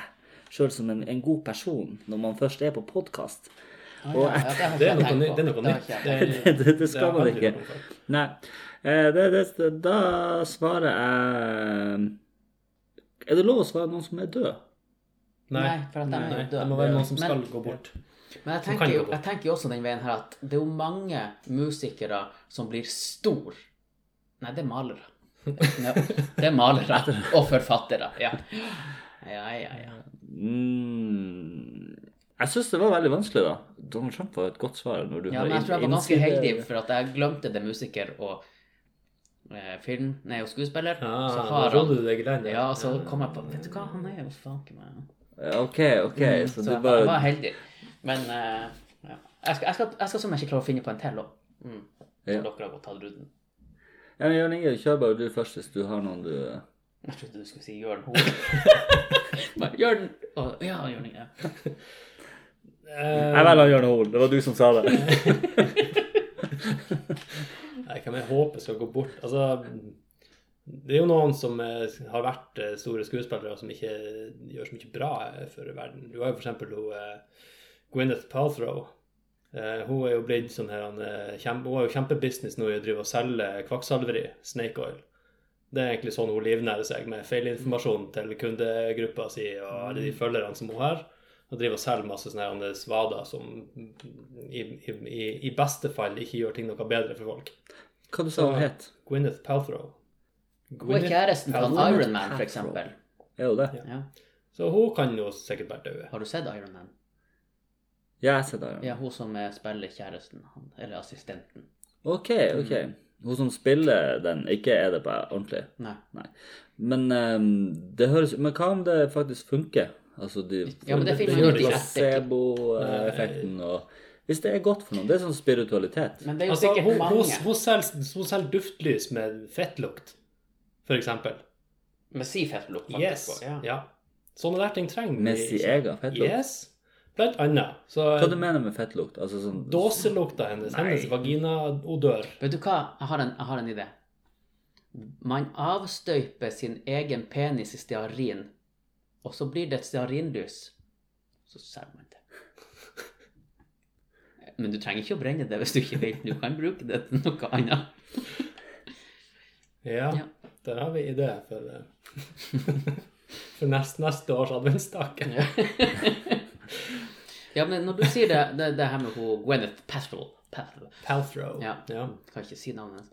C: sjøl som en, en god person når man først er på podkast.
B: Ah,
C: Og
B: ja, ja,
A: Det
B: har
A: er noe,
B: ikke jeg tenkt
A: ny,
B: på.
A: det er noe
B: Det har
A: nytt.
B: ikke jeg
A: Det, er-
B: tenkt på.
C: Det, det skal
A: har
C: man
A: jeg aldri
C: ikke.
A: hørt om før.
C: Nei. Eh, det, det, da svarer jeg eh, Er det lov å svare noen som er død?
A: Nei,
B: Nei, for at de er
A: nei,
B: døde.
A: det må være noen som
B: Men-
A: skal gå bort.
B: Men jeg
A: Som
B: tenker,
A: Sånn kan
B: jo,
A: gå bort.
B: jeg tenker jo også den veien her at det er jo mange musikere som blir stor. Nei, det er malere. Ja, det er malere og forfattere. Ja, ja, ja. ja.
C: Mm, jeg syns det var veldig vanskelig, da. Donald Trump var et godt svar. Når du
B: ja
C: har
B: men jeg tror jeg
C: inn-
B: var ganske
C: innside-
B: heldig, for at jeg glemte det musiker og eh, film, nei, og skuespiller.
A: Ja,
B: så
A: da
B: har
A: rodde
B: han
A: du deg i land.
B: Ja, så kom jeg på Vet du hva, han er jo fanken meg
C: Ok, ok. Så,
B: Mm, Så
C: du
B: jeg var- jeg var
C: bare
B: heldig. Men eh, ja. jeg, skal, jeg, skal, jeg skal som jeg ikke klarer å finne på en til òg. Mm. Så
C: Ja.
B: dere har gått tatt runden.
C: ja, men Jørn Inge, kjør bare du først hvis du har noen du
B: Jeg trodde du skulle si Jørn Hoel. Bare, Jørn Å, Ja, Jørn Inge.
A: Eh,
C: Jeg velger Jørn Hoel. Det var du som sa det.
A: Nei, hvem jeg håper skal gå bort Altså, det er jo noen som eh, har vært eh, store skuespillere og som ikke gjør så mye bra eh, for verden. Du har jo for eksempel hun eh, Gwyneth Palthrow. Eh, Hun er jo blitt sånn her han, eh, kjempe, Hun har jo kjempebusiness nå i å drive og selge kvakksalveri, snake oil. Det er egentlig sånn hun livnærer seg, med feilinformasjon til kundegruppa si og alle de følgerne som hun har. Og driver og selger masse sånne her, han, eh, svader som i, i, i- i beste fall ikke gjør ting noe bedre for folk.
C: Hva du sa hun het?
A: Gwyneth Palthrow.
B: Hun er kjæresten til han
A: Paltrow.
B: Iron Man, for
C: Paltrow.
B: eksempel.
C: Er hun det?
A: Ja.
B: Ja.
A: Så hun kan jo sikkert være død.
B: Har du sett Iron Man?
C: Ja, jeg ser det.
B: Ja, hun som eh, spiller kjæresten, han, eller assistenten.
C: Ok, ok.
B: Mm.
C: Hun som spiller den, ikke er det på ordentlig.
B: Nei.
C: Nei. Men ehm, det høres Men hva om det faktisk funker? Altså de
B: Ja, men det finner
A: man ut i
B: ettertid.
C: Placebo-effekten og Hvis det er godt for noen. Det er sånn spiritualitet.
B: Men det er jo
A: Altså,
B: sikkert
A: hun, hun,
B: mange.
A: hun, selger, hun selger duftlys med fettlukt, for eksempel.
B: Med si fettlukt, faktisk.
A: Yes.
B: også,
A: Ja.
B: Ja.
A: Sånne der ting trenger vi
C: Med sin
A: ikke.
C: egen fettlukt.
A: Yes. Blant annet. Så
C: Hva du mener med fettlukt? Altså sånn
A: dåselukta hennes,
C: Nei.
A: hennes vaginaodør
B: Vet du hva, jeg har, en, jeg har en idé. Man avstøyper sin egen penis i stearin, og så blir det et stearinlys. Så selger man det. Men du trenger ikke å brenne det hvis du ikke vil. Du kan bruke det til noe annet.
A: ja,
B: Ja.
A: der har vi idé for, eh, for nest, neste års adventstake.
B: Ja, men når du sier det, det, det her med hun Gwyneth Paltrow Paltrow.
A: Palthrow.
B: Ja.
A: Ja.
B: Jeg kan ikke si navnet hennes.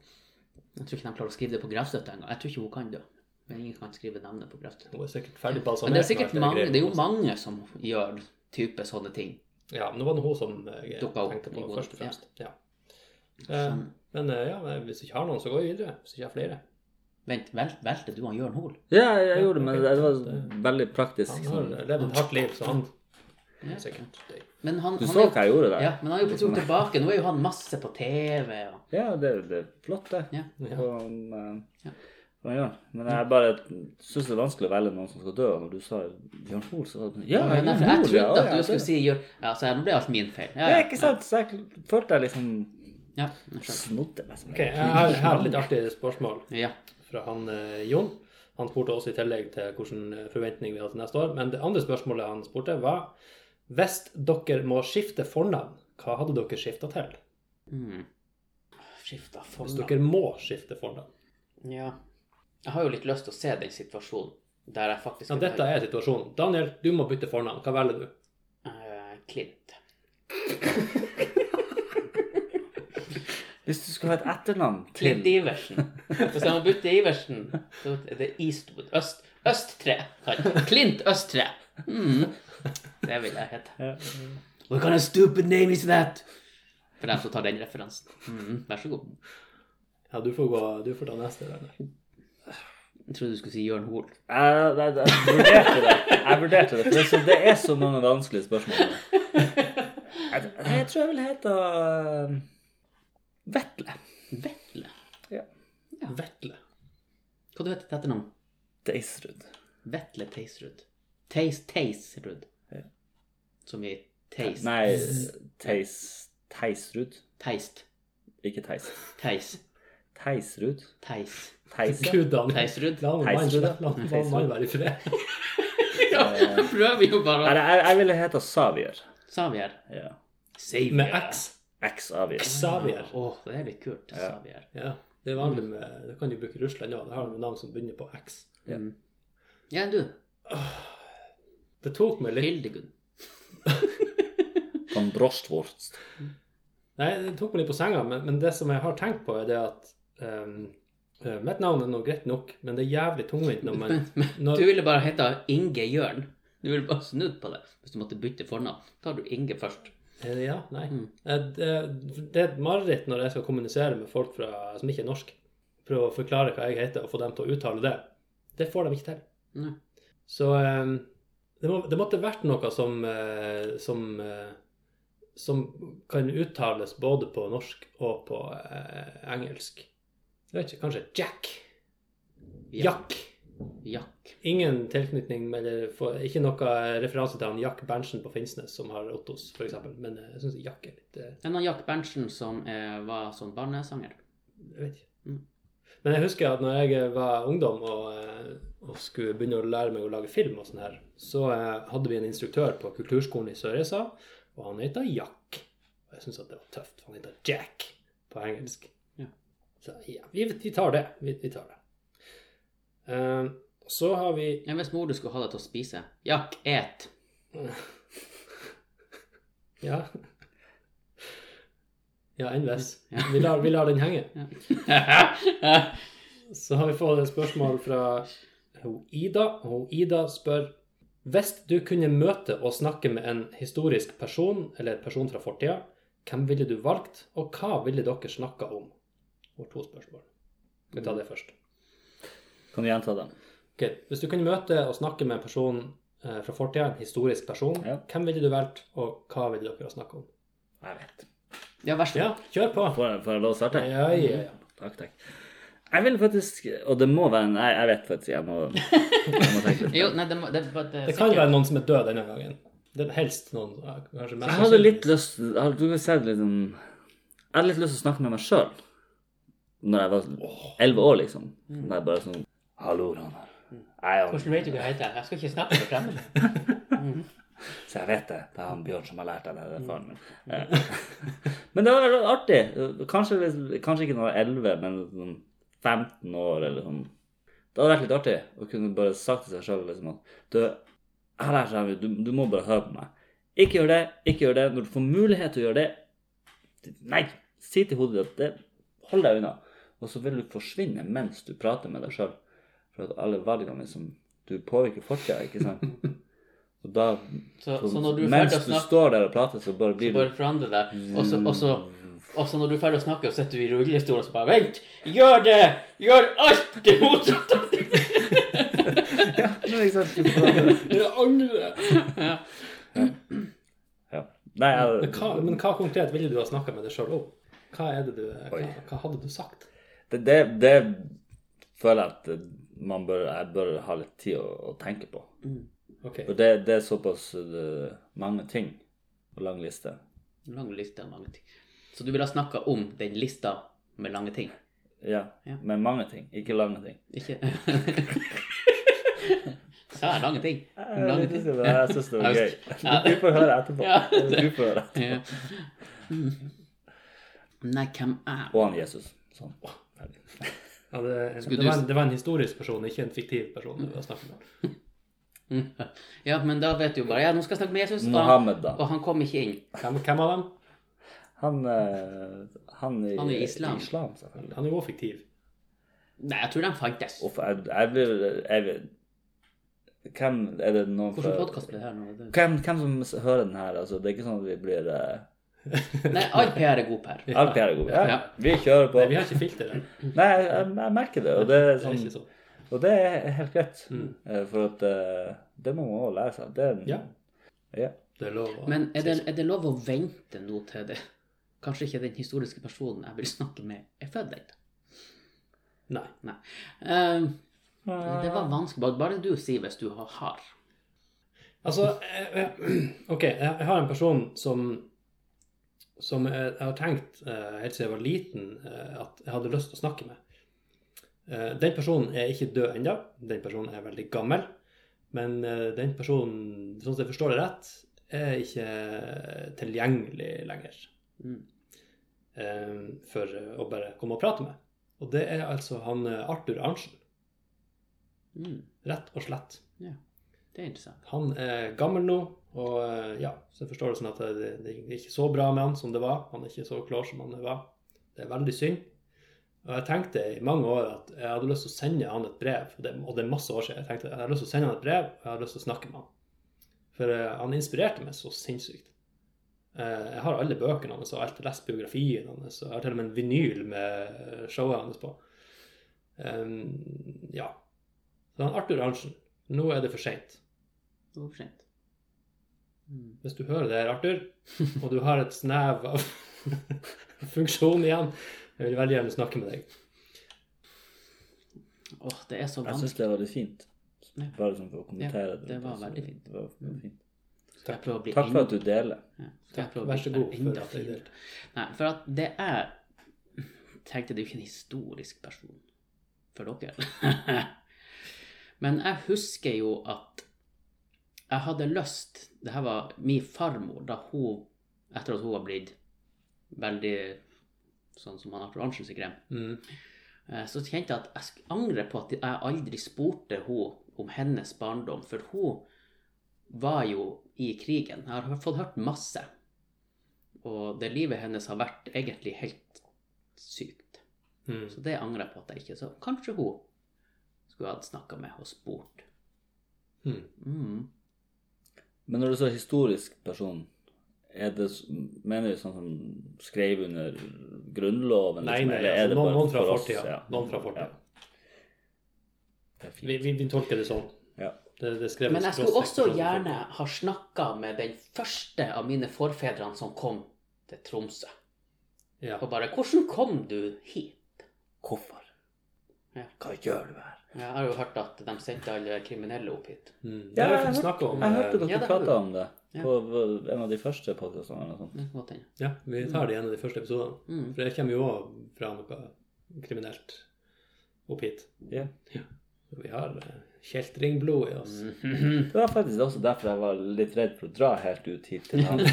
B: Jeg tror ikke de klarer å skrive det på gravstøtta engang. Jeg tror ikke hun kan det. Men ingen kan skrive navnet på gravstøtta.
A: Hun er sikkert ferdig
B: Men det er
A: balsamert.
B: sikkert
A: med alt
B: mange,
A: greiene
B: det er jo
A: også.
B: mange som gjør type sånne ting.
A: Ja, men det var nå hun som jeg
B: Dukket opp
A: tenkte
B: i
A: på
B: hodet,
A: først og fremst. Ja. Eh, Men eh, ja, nei, hvis du ikke har noen, så går vi videre. Hvis du ikke har flere.
B: Vent, vel, velte du han Jørn Hoel?
C: Ja, jeg gjorde det, men
A: ok.
C: det var veldig praktisk.
A: Han har
C: Sånn.
A: levd et hardt liv, så han
B: Ja.
A: sikkert død.
B: Men han,
C: Du
B: han
C: så
B: er-
C: hva jeg gjorde
B: Ja,
C: der?
B: men han er jo på tur tilbake. Nå er jo han masse på TV og
C: Ja, det, det er flott, det.
B: Ja.
A: Ja.
C: Om, eh,
B: Ja.
C: hva man gjør. Men jeg bare syns det er vanskelig å velge noen som skal dø. Og når du sa Bjørn Hoel, så var det sånn, Ja,
B: Men jeg,
C: Bjørn
B: jeg
C: Hoel, ja,
B: trodde
C: ja,
B: at du
C: det-
B: skulle si Jørn Ja, så her, nå ble alt min feil. Ja,
C: Ja,
B: ja.
C: ikke sant? Så jeg følte jeg liksom
B: Ja, jeg skjønner.
C: Snodde meg som
A: Ok, jeg har, jeg har et litt artig spørsmål
B: Ja.
A: fra han eh, Jon. Han spurte også i tillegg til hvilke forventninger vi har til neste år. Men det andre spørsmålet han spurte, var hvis dere må skifte fornavn, hva hadde dere skifta til?
B: Mm. Skifta
A: Hvis
B: fornavn.
A: dere må skifte fornavn.
B: Ja. Jeg har jo litt lyst til å se den situasjonen der jeg faktisk
A: Ja, dette er situasjonen. Daniel, du må bytte fornavn. Hva velger du?
B: Eh, Clint.
C: Hvis du skulle ha et etternavn til
B: Clint Iversen. Hvis jeg må bytte Iversen, så er det Eastwood. Øst, Østre. Clint Østre. Mm. Det vil jeg hete.
C: Ja.
B: What kind of stupid name is that? For dem som tar den referansen. Mm. Vær så god.
A: Ja, du får, gå, du får ta neste. Daniel.
B: Jeg trodde du skulle si Jørn Hoel.
C: Jeg, nei, jeg vurderte det. Jeg vurderte det. For det, er så, det er så mange vanskelige spørsmål. Jeg, jeg tror jeg vil hete eh, Vetle.
B: Vetle.
A: Vetle.
B: Hva du heter du etter navn?
C: Deisrud.
B: Vetle Teisrud. Teis, Teisrud.
C: Ja.
B: Som i Teis.
C: Nei, Teis, Teisrud.
B: Teist.
C: Ikke Teis.
B: Teis.
C: Teisrud.
B: Teis.
C: Teis.
A: Gud, Daniel.
B: Teisrud.
A: La han
C: Heisrud.
A: la han- la han mannen være i fred.
B: Ja, jeg prøver jo
C: Nei,
B: bare.
C: jeg, jeg ville hete Savier.
B: Xavier.
C: Ja.
B: Xavier.
A: Med X.
C: X-Avier.
A: Xavier.
B: Åh, det er litt kult.
C: Ja.
B: Xavier.
A: Ja, det er vanlig med Det kan du bruke i Russland òg. Det har de navn som begynner på X.
C: Ja.
B: Mm. Ja, du.
A: Det tok meg litt
B: Hildegunn.
C: Von Brostwurst.
A: Nei, det tok meg litt på senga, men, men det som jeg har tenkt på, er det at ehm, eh, Mitt navn er nå greit nok, men det er jævlig tungvint når man
B: Men, men
A: når,
B: du ville bare heta Inge Jørn. Du ville bare snudd på det. Hvis du måtte bytte fornavn, tar du Inge først.
A: Eh, Ja, nei.
B: Mm.
A: Eh, Det, det er et mareritt når jeg skal kommunisere med folk fra, som ikke er norske. Prøve å forklare hva jeg heter, og få dem til å uttale det. Det får de ikke til.
B: Nei.
A: Så eh, det, må, det måtte vært noe som eh, som, eh, som kan uttales både på norsk og på eh, engelsk. Jeg vet ikke, kanskje Jack. Jack.
B: Jack.
A: Ingen tilknytning med eller for, Ikke noe referanse til han Jack Berntsen på Finnsnes som har Ottos, f.eks. Men eh, jeg syns Jack er litt eh,
B: Den av Jack Berntsen som eh, var sånn barnesanger.
A: Jeg vet ikke.
B: Mm.
A: Men jeg husker at når jeg var ungdom og, eh, og skulle begynne å lære meg å lage film, og sånn her, så eh, hadde vi en instruktør på kulturskolen i Sørreisa, og han heter Jack. Og jeg syntes at det var tøft. for Han heter Jack på engelsk.
B: Ja.
A: Så ja, vi, vi tar det. Vi, vi tar det. Eh, så har vi
B: Ja, hvis mor du skulle ha deg til å spise Jack, et.
A: Ja. Ja, enn hvis.
B: Ja.
A: Vi, lar- vi lar den henge.
B: Ja.
A: Så har vi fått et spørsmål fra hun Ida. Hun Ida spør Hvis du kunne møte og snakke med en historisk person eller person fra fortida, hvem ville du valgt, og hva ville dere snakka om? Hun har to spørsmål. Skal vi ta det først?
C: Kan du gjenta den?
A: Ok, Hvis du kunne møte og snakke med en person eh, fra fortida, en historisk person,
C: Ja.
A: hvem ville du valgt, og hva ville dere snakke om?
C: Jeg vet.
B: ja, vær så god.
A: Ja, kjør på!
C: Får får jeg lov å starte? Mhm.
A: Ja, ja, ja.
C: Takk, takk. Jeg vil faktisk Og det må være en Nei, jeg vet faktisk Jeg må, jeg må tenke litt.
B: Jo, nei, det, må- det, det, det,
A: Det kan være noen som er død denne gangen. Det er helst noen ja, kanskje mest
C: Jeg hadde
A: sannsynlig.
C: litt lyst jeg hadde- Du har sett litt om Jeg hadde litt lyst til å snakke med meg sjøl Når jeg var elleve år, liksom.
A: Mm.
C: Da jeg bare sånn Hallo, Ragnar. Jeg er han-
B: Hvordan vet du hva jeg heter? Jeg skal ikke snakke med fremmede.
C: Så jeg vet det. Det er han Bjørn som har lært deg det. det er faren min. Eh. Men det var veldig artig. Kanskje, litt- kanskje ikke når jeg var 11, men sånn 15 år eller sånn. Det hadde vært litt artig å kunne bare sagt til seg sjøl liksom at du, jeg har lært deg det, du, du må bare høre på meg. Ikke gjør det, ikke gjør det. Når du får mulighet til å gjøre det, nei, si til hodet ditt at det hold deg unna. Og så vil du forsvinne mens du prater med deg sjøl. For at alle valgene som du påvirker fortida, ikke sant. Og da
B: Så, så når du er
C: mens
B: ferdig å
C: du
B: snakke,
C: står der og prater, så bare
B: så
C: blir
B: bare forandre deg. Og så, og så og så når du er ferdig å snakke, så sitter du i rullestol og så bare Vent! Gjør det! Gjør alt det motsatte!
C: du liksom
A: Jeg angrer!
C: ja. Nei,
A: Men
C: jeg,
A: hva, men hva konkret ville du ha snakka med deg sjøl om? Hva, er det du, hva,
C: Oi.
A: hva hadde du sagt?
C: det, det, det føler jeg at man bør, jeg bør ha litt tid å, å tenke på.
A: Ok,
C: For det, det er såpass eh, mange ting og lang liste.
B: Lang liste av mange ting. Så du ville ha snakka om den lista med lange ting?
C: Ja,
B: Ja.
C: med mange ting, ikke lange ting.
B: Ikke Sa jeg lange ting? Lange ting.
C: Jeg syns det var
B: Ja.
C: gøy.
B: Ja.
C: Du får høre etterpå.
B: Ja.
C: Du får høre.
B: Ja. Mm. Nei, hvem er
C: Og han Jesus. Sånn.
A: Ja, det,
B: Skulle
A: det,
B: du-
A: var en, det var en historisk person, ikke en fiktiv person. Det var snakk om.
B: Ja, men da vet du jo bare Ja, nå skal jeg snakke med Jesus, og,
C: Mohammed, da.
B: og han kom ikke inn.
A: Hvem, hvem av dem?
C: Han, eh, han, i,
B: Han er i islam.
C: islam, selvfølgelig.
A: Han er jo også fiktiv.
B: Nei, jeg tror de fantes.
C: Uff, jeg, jeg blir jeg, blir- Hvem er det noen
B: Hvilken
C: fra-
B: podkast ble det her nå? Det-
C: hvem, hvem som s- hører den her? Altså, det er ikke sånn at vi blir eh,
B: Nei, all PR er god PR.
C: All PR er god. Ja,
B: Ja.
C: Vi kjører på.
A: Nei, vi har ikke filter der.
C: Nei, jeg, jeg, jeg merker det. Og det er
A: Det er
C: sånn
A: ikke sånn.
C: Og det er helt greit,
A: Mm.
C: eh, for at eh, det må man også lære seg. Det er en,
A: Ja.
C: Ja.
A: Det er lov å
B: Men er det, er det lov å vente nå til det? Kanskje ikke den historiske personen jeg vil snakke med, er født ennå.
A: Nei.
B: Eh,
C: Ah.
B: det var vanskelig. Bare- Bare du sier hvis du har har.
A: Altså, jeg, jeg, OK, jeg jeg har en person som som jeg, jeg har tenkt eh, helt siden jeg var liten, eh, at jeg hadde lyst til å snakke med. Eh, den personen er ikke død ennå. Den personen er veldig gammel. Men eh, den personen, sånn som jeg forstår det rett, er ikke tilgjengelig lenger
B: Mm.
A: eh, for å bare komme og prate med. Og det er altså han eh, Arthur Arntzen,
B: Mm.
A: rett og slett.
B: Det er interessant.
A: Han er gammel nå, og eh, ja, så jeg forstår det sånn at det, det er ikke så bra med han som det var. Han er ikke så klar som han var. Det er veldig synd. Og jeg tenkte i mange år at jeg hadde lyst til å sende han et brev, og det, og det er masse år siden. Jeg tenkte jeg hadde lyst til å sende han et brev, og jeg hadde lyst til å snakke med han. For eh, han inspirerte meg så sinnssykt. Eh, jeg har alle bøkene hans, og jeg har alt lest biografien hans, og jeg har til og med en vinyl med showet hans på. Eh, ja. Så han Arthur Arntzen, nå er det for seint.
B: Det var for sent. Mm.
A: Hvis du hører det her, Arthur, og du har et snev av funksjon igjen, jeg vil veldig gjerne snakke med deg.
B: Åh, det er så
C: Jeg syns
B: vanskelig.
C: det var litt fint.
B: Ja.
C: Bare sånn for å kommentere
B: Ja, det var
C: Altså,
B: veldig fint. Mm.
C: det var fint.
B: Skal jeg prøve å bli
C: Takk for
B: enda-
C: at du deler.
B: Ja, skal jeg prøve å
A: Vær så
B: bli
A: god.
B: enda
A: For at jeg
B: finere?
A: delte.
B: Nei, for at det er tenkte det er jo ikke en historisk person for dere. Men jeg husker jo at jeg hadde lyst det her var min farmor da hun Etter at hun var blitt veldig sånn som han Arthur Arntzen sikkert er,
A: Mm.
B: eh, så kjente jeg at jeg sk- angrer på at jeg aldri spurte hun om hennes barndom. For hun var jo i krigen. Jeg har hø- fått hørt masse. Og det livet hennes har vært egentlig helt sykt.
A: Mm.
B: Så det angrer jeg på at jeg ikke Så kanskje hun skulle ha snakka med og spurt.
A: Mm.
B: Mm.
C: Men når du så historisk person, er det, s- mener du sånn som skrev under Grunnloven?
A: Nei,
C: liksom,
A: nei,
C: eller er
A: altså, noen,
C: det bare
A: noen fra
C: for oss?
A: fortida.
C: Ja.
A: Noen fra fortida.
C: Ja, det er fint.
A: Vi, vi, vi tolker det sånn.
C: Ja.
A: Det, det skrev
B: Men jeg skulle også
A: skråstrek-
B: gjerne ha snakka med den første av mine forfedrene som kom til Tromsø.
A: ja.
B: Og bare 'Hvordan kom du hit?'
C: Hvorfor?
B: Ja.
C: Hva gjør du her?
B: Jeg har jo hørt at de sendte alle kriminelle opp hit.
A: Mm. Det
C: Ja,
A: har
C: jeg
A: vi
C: hørte-
A: snakket om. eh,
C: Jeg hørte
B: Ja, det
C: dere pratet
B: har du.
C: prata om det
B: Ja.
C: på på en av de første podkastene eller noe sånt.
B: Det kan godt hende.
A: eh, Ja, vi tar det i en av de første episodene.
B: Mm.
A: For det kommer jo òg fra noe kriminelt opp hit.
C: Ja.
A: Vi har eh, kjeltringblod i
C: Mm.
A: oss.
B: Mhm.
C: Det var faktisk også derfor jeg var litt redd for å dra helt ut hit til Hamar.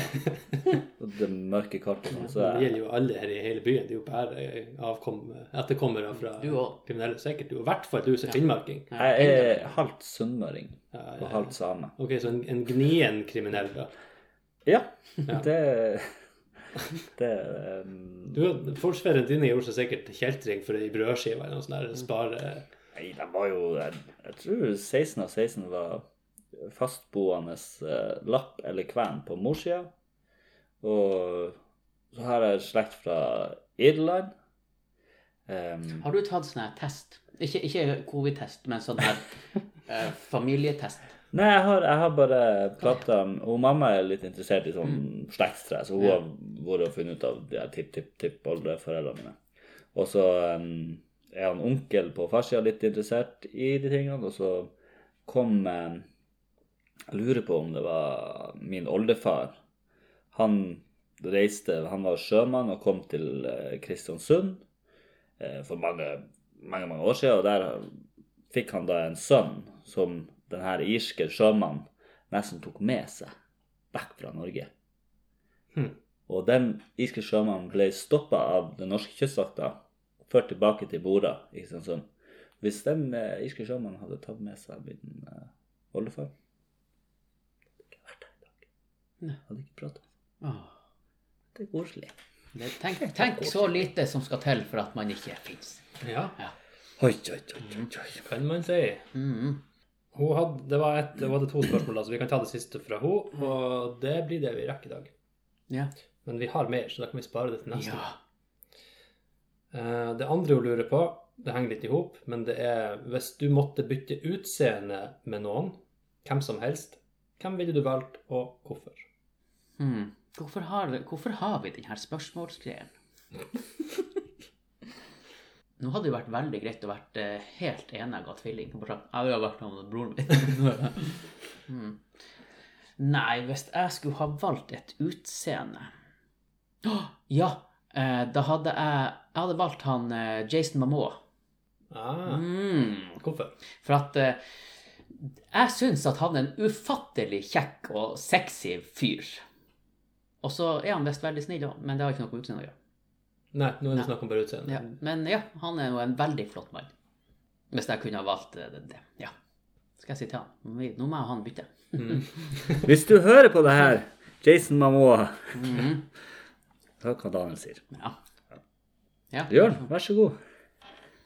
C: Og det mørke kartet. sånn, Så
A: Men Det
C: jeg,
A: gjelder jo alle her i hele byen. Det er jo bare eh, avkom, etterkommere fra
B: Du også.
A: kriminelle, sikkert. Du, I hvert fall du som er finnmarking.
C: jeg er halvt sunnmøring
A: Ja,
C: og
A: ja.
C: halvt same.
A: Ok, så en, en gnien kriminell, da.
C: Ja,
A: Ja.
C: det Det um,
A: Du, Forsvareren din gjorde seg sikkert til kjeltring for ei brødskive eller noe sånt. der, eh. Spare
C: Nei, de var jo Jeg, jeg tror 16 av 16 var fastboende eh, lapp eller kven på morssida. Og så har jeg slekt fra Irland. Um,
B: Har du tatt sånn her test? Ikke, ikke covid-test, men sånn her eh, familietest.
C: Nei, jeg har, jeg har bare prata Og um, mamma er litt interessert i sånn slektstre, så hun
B: Ja.
C: har vært og funnet ut av de her tipp-tipp-tipp-oldeforeldrene mine. Og så em, er han onkel på farssida litt interessert i de tingene, og så kom um, em, Jeg lurer på om det var min oldefar. Han reiste Han var sjømann og kom til eh, Kristiansund eh, for mange, mange, mange år siden. Og der fikk han da en sønn som denne irske sjømannen nesten tok med seg vekk fra Norge.
A: Hmm.
C: Og den irske sjømannen ble stoppa av den norske kystvakta og ført tilbake til Bora i Kristiansund. Hvis den eh, irske sjømannen hadde tatt med seg min eh, oldefar Hadde ikke vært her i dag.
B: Nei.
C: Hadde ikke prata.
B: Åh.
C: Det er koselig.
B: Det- Tenk, tenk så lite som skal til for at man ikke fins.
A: Ja,
C: Oi, oi, oi, oi, oi.
A: kan man si.
B: Mhm.
A: Hun hadde, det, var et, det var to spørsmål, da, så vi kan ta det siste fra henne. Og det blir det vi rekker i dag.
B: Ja.
A: Men vi har mer, så da kan vi spare det til neste.
B: ja.
A: Eh, Det andre hun lurer på, det henger litt i hop, men det er hvis du måtte bytte utseende med noen, hvem som helst, hvem ville du valgt, og hvorfor?
B: Hmm. Hvorfor, har, vi- hvorfor har vi denne spørsmålsgreien? Nå hadde det jo vært veldig greit å vært eh, helt enegg av tvilling. og bare sagt, Jeg ville vært sammen med broren min. hmm. Nei, hvis jeg skulle ha valgt et utseende Åh, Ja! Eh, da hadde jeg, jeg hadde valgt han eh, Jason Mamoa.
A: Ah,
B: Mm.
A: hvorfor?
B: For at eh, jeg syns at han er en ufattelig kjekk og sexy fyr. Og så er han visst veldig snill òg, men det har ikke noe med utseendet å gjøre.
A: Nei, nå er det
B: Nei.
A: snakk om bare utseende.
B: Ja. Men ja, han er jo en veldig flott mann. Hvis jeg kunne ha valgt eh, det. det. Ja. Skal jeg si til han? Nå må vi- Nå må jeg og han bytte.
C: Mm. Hvis du hører på det her, Jason Mamoa, Mm-hmm.
B: Mhm.
C: hør hva Daniel sier.
B: Ja. ja.
C: Bjørn, vær så god.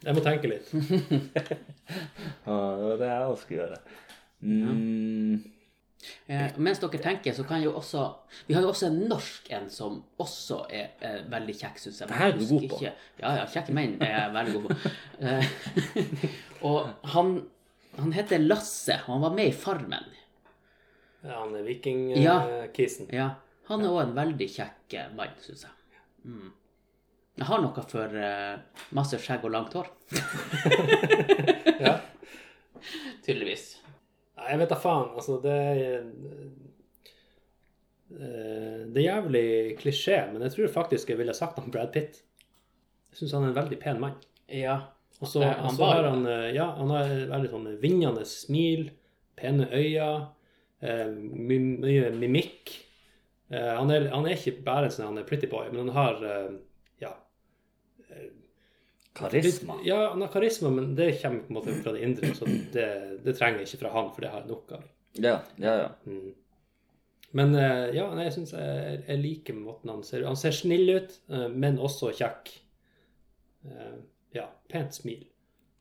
A: Jeg må tenke litt.
B: Mm.
C: Ja, det var det jeg også skulle gjøre. Mm.
B: Eh, og mens dere tenker, så kan jo også Vi har jo også en norsk en som også er eh, veldig kjekk, syns jeg.
C: Det her er du
B: Jeg husker
C: god på.
B: Ikke. Ja, ja, kjekke menn er jeg veldig god på. Eh, og han, han heter Lasse, og han var med i Farmen.
A: Ja, han er vikingkisen.
B: Ja.
A: kisen
B: Ja, han er òg en veldig kjekk eh, mann, syns jeg. Mm. Jeg har noe for eh, masse skjegg og langt hår.
A: ja.
B: Tydeligvis.
A: Nei, jeg vet da faen. Altså, det er eh, Det er jævlig klisjé, men jeg tror faktisk jeg ville sagt han Brad Pitt. Jeg syns han er en veldig pen mann.
B: Ja.
A: Og så
B: Nei,
A: og
B: han
A: så
B: var
A: har
B: jo
A: han eh, Ja, han har et veldig sånn vinnende smil, pene øyne, eh, my, mye mimikk. Eh, han, er, han er ikke bare en sånn han er pretty boy, men han har eh, ja,
C: Karisma.
A: Litt- Ja, han har karisma, men det kommer på en måte fra det indre. Så det, det trenger jeg ikke fra han, for det har jeg nok av.
C: Ja, ja, ja.
A: Mm. Men eh, ja, nei, jeg syns jeg, jeg liker måten han ser ut Han ser snill ut, eh, men også kjekk. Eh, ja, pent smil.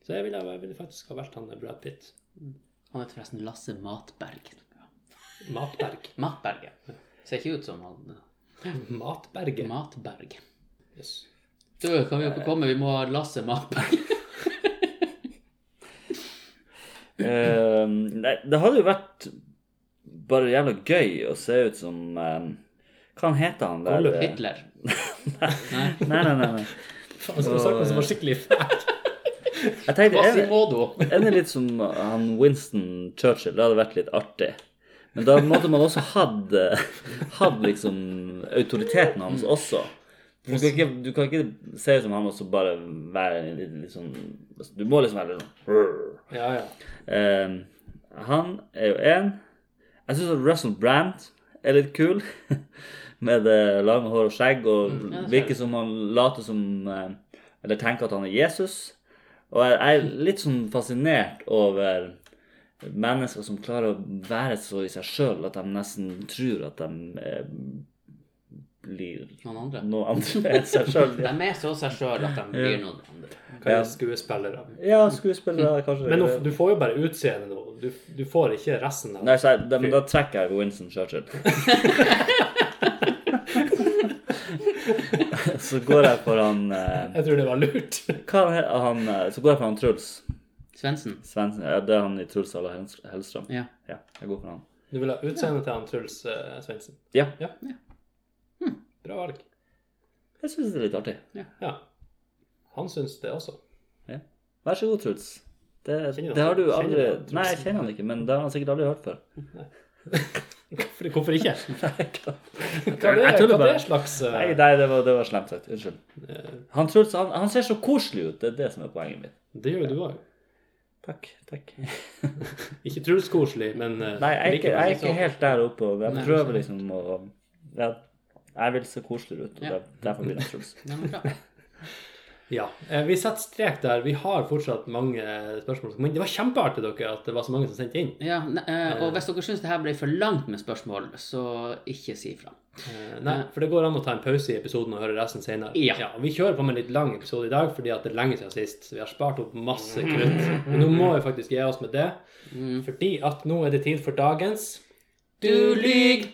A: Så jeg ville, jeg ville faktisk ha valgt han der Brad Pitt.
B: Han heter forresten Lasse Matberg.
A: Matberg.
B: Matberg, ja. Ser ikke ut som han eh,
A: Matberget.
B: Matberg.
A: Yes.
B: Du, kan vi ikke komme? Vi må ha Lasse Matberg.
C: Eh, nei, det hadde jo vært bare jævla gøy å se ut som eh, Hva han heter han der?
A: Adolf
B: Hitler.
C: Nei, nei, nei. nei.
A: Faen, som sagt, det var skikkelig fælt.
C: Jeg tenkte, er det,
B: Quasimodo.
C: er det litt som eh, han Winston Churchill? Det hadde vært litt artig. Men da måtte man også hatt eh, hatt liksom autoriteten hans også. Du kan, ikke, du kan ikke se ut som han og så bare være en litt, litt sånn Du må liksom være litt sånn "Rrr."
A: Ja, ja.
C: Eh, han er jo én. Jeg syns Russell Brand er litt kul. Med det lange hår og skjegg, og
B: Mm, ja, det ser
C: virker som han later som eh, Eller tenker at han er Jesus. Og jeg jeg er litt sånn fascinert over mennesker som klarer å være så i seg sjøl at de nesten tror at de eh, blir
B: Noen andre.
C: noe andre enn seg sjøl.
B: De er så seg sjøl at de blir noen andre.
A: Hva er skuespillere?
C: Ja, skuespillere, kanskje.
A: Men nå- du får jo bare utseendet nå. Du, du får ikke resten av
C: Nei, så jeg, da, men da trekker jeg Winston Churchill. så går jeg for han eh,
A: Jeg tror det var lurt.
C: Hva han, he- han eh, Så går jeg for han Truls
B: Svendsen.
C: Svendsen. Ja, det er han i Truls Alla Hellstrøm. Hellstrøm.
B: Ja.
C: Ja, jeg går for han.
A: Du vil ha utseendet til han Truls uh, Svendsen?
C: Ja.
A: Ja. Hm. Bra valg.
C: Jeg syns det er litt artig.
A: Ja. Han syns det også.
C: Ja. Vær så god, Truls. Det,
A: Kjenner du
C: det har
A: han?
C: du
A: Kjenner
C: aldri
A: du han, Truls?
C: Nei, jeg kjenner han ikke, men det har han sikkert aldri hørt før.
A: Hvorfor, hvorfor ikke? Hva er
C: Jeg
A: det,
C: tuller
A: hva er
C: bare.
A: det slags eh,
C: Nei, nei det, var, det var slemt sagt. Unnskyld. Han, tror, han, han ser så koselig ut. Det er det som er poenget mitt.
A: Det gjør jo du òg.
C: Takk. takk.
A: Ikke Truls koselig, men eh,
C: Nei, jeg er ikke,
A: likevel
C: jeg er ikke
A: så-
C: helt der oppe. og Jeg
B: liksom. Nei,
C: prøver liksom å ja, Jeg vil se koseligere ut, og
B: Ja.
C: der- derfor blir det Truls.
B: Ja, men bra.
A: Ja. eh, Vi setter strek der. Vi har fortsatt mange spørsmål. Men det var kjempeartig dere at det var så mange som sendte inn.
B: Ja, ne- eh, og hvis dere syns det her ble for langt med spørsmål, så ikke si fra.
A: Eh, Nei, for det går an å ta en pause i episoden og høre resten senere.
B: Ja.
A: vi kjører på med en litt lang episode i dag fordi at det er lenge siden sist. Så vi har spart opp masse krutt. Men nå må vi faktisk gi oss med det. Fordi at nå er det tid for dagens
B: Du lyg!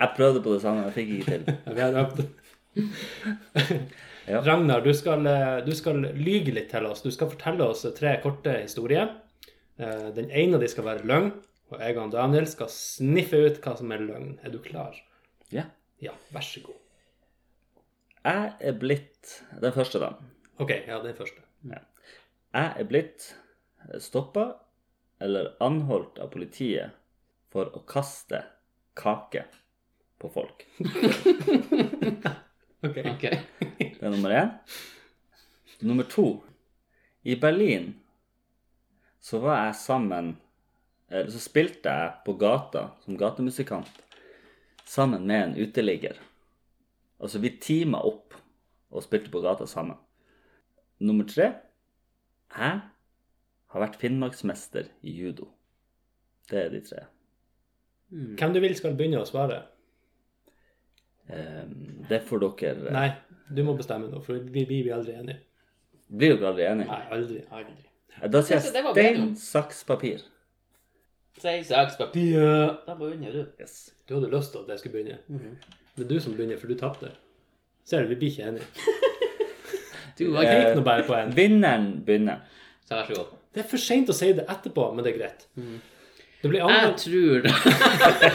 C: Jeg prøvde på det samme, jeg fikk ikke til.
A: Ja, Vi har øvd.
C: Ja.
A: Ragnar, du skal, eh, du skal lyge litt til oss. Du skal fortelle oss tre korte historier. Eh, Den ene av de skal være løgn, og jeg og Daniel skal sniffe ut hva som er løgn. Er du klar?
C: Ja.
A: Ja, vær så god.
C: Jeg er blitt Den første, da.
A: OK, ja, den første.
C: Jeg er blitt stoppa eller anholdt av politiet for å kaste kake på folk.
A: OK.
B: Ok.
C: Det er nummer én. Nummer to. I Berlin så var jeg sammen Eller så spilte jeg på gata som gatemusikant sammen med en uteligger. Altså, vi teama opp og spilte på gata sammen. Nummer tre. Jeg har vært finnmarksmester i judo. Det er de tre.
A: Hvem du vil skal begynne å svare?
C: Eh, Det får dere
A: Nei, du må bestemme nå, for vi blir vi aldri enige.
C: Blir dere aldri enige?
A: Nei, aldri.
B: Aldri.
C: Da sier
B: Det- det
C: jeg
B: var bedre.
C: stein, saks, papir.
B: Si saks, papir. Da begynner du.
C: Yes.
A: Du hadde lyst til at jeg skulle begynne. Det er du som begynner, for du tapte. Ser du, vi blir ikke enige.
B: Du
C: Eh.
B: var
A: Jeg
B: grei.
A: gikk nå bare på en.
C: Vinneren begynner.
B: Så vær så god.
A: Det er for seint å si det etterpå, men det er greit.
C: Mm.
A: Det blir
B: Jeg
A: anmeldt
B: tror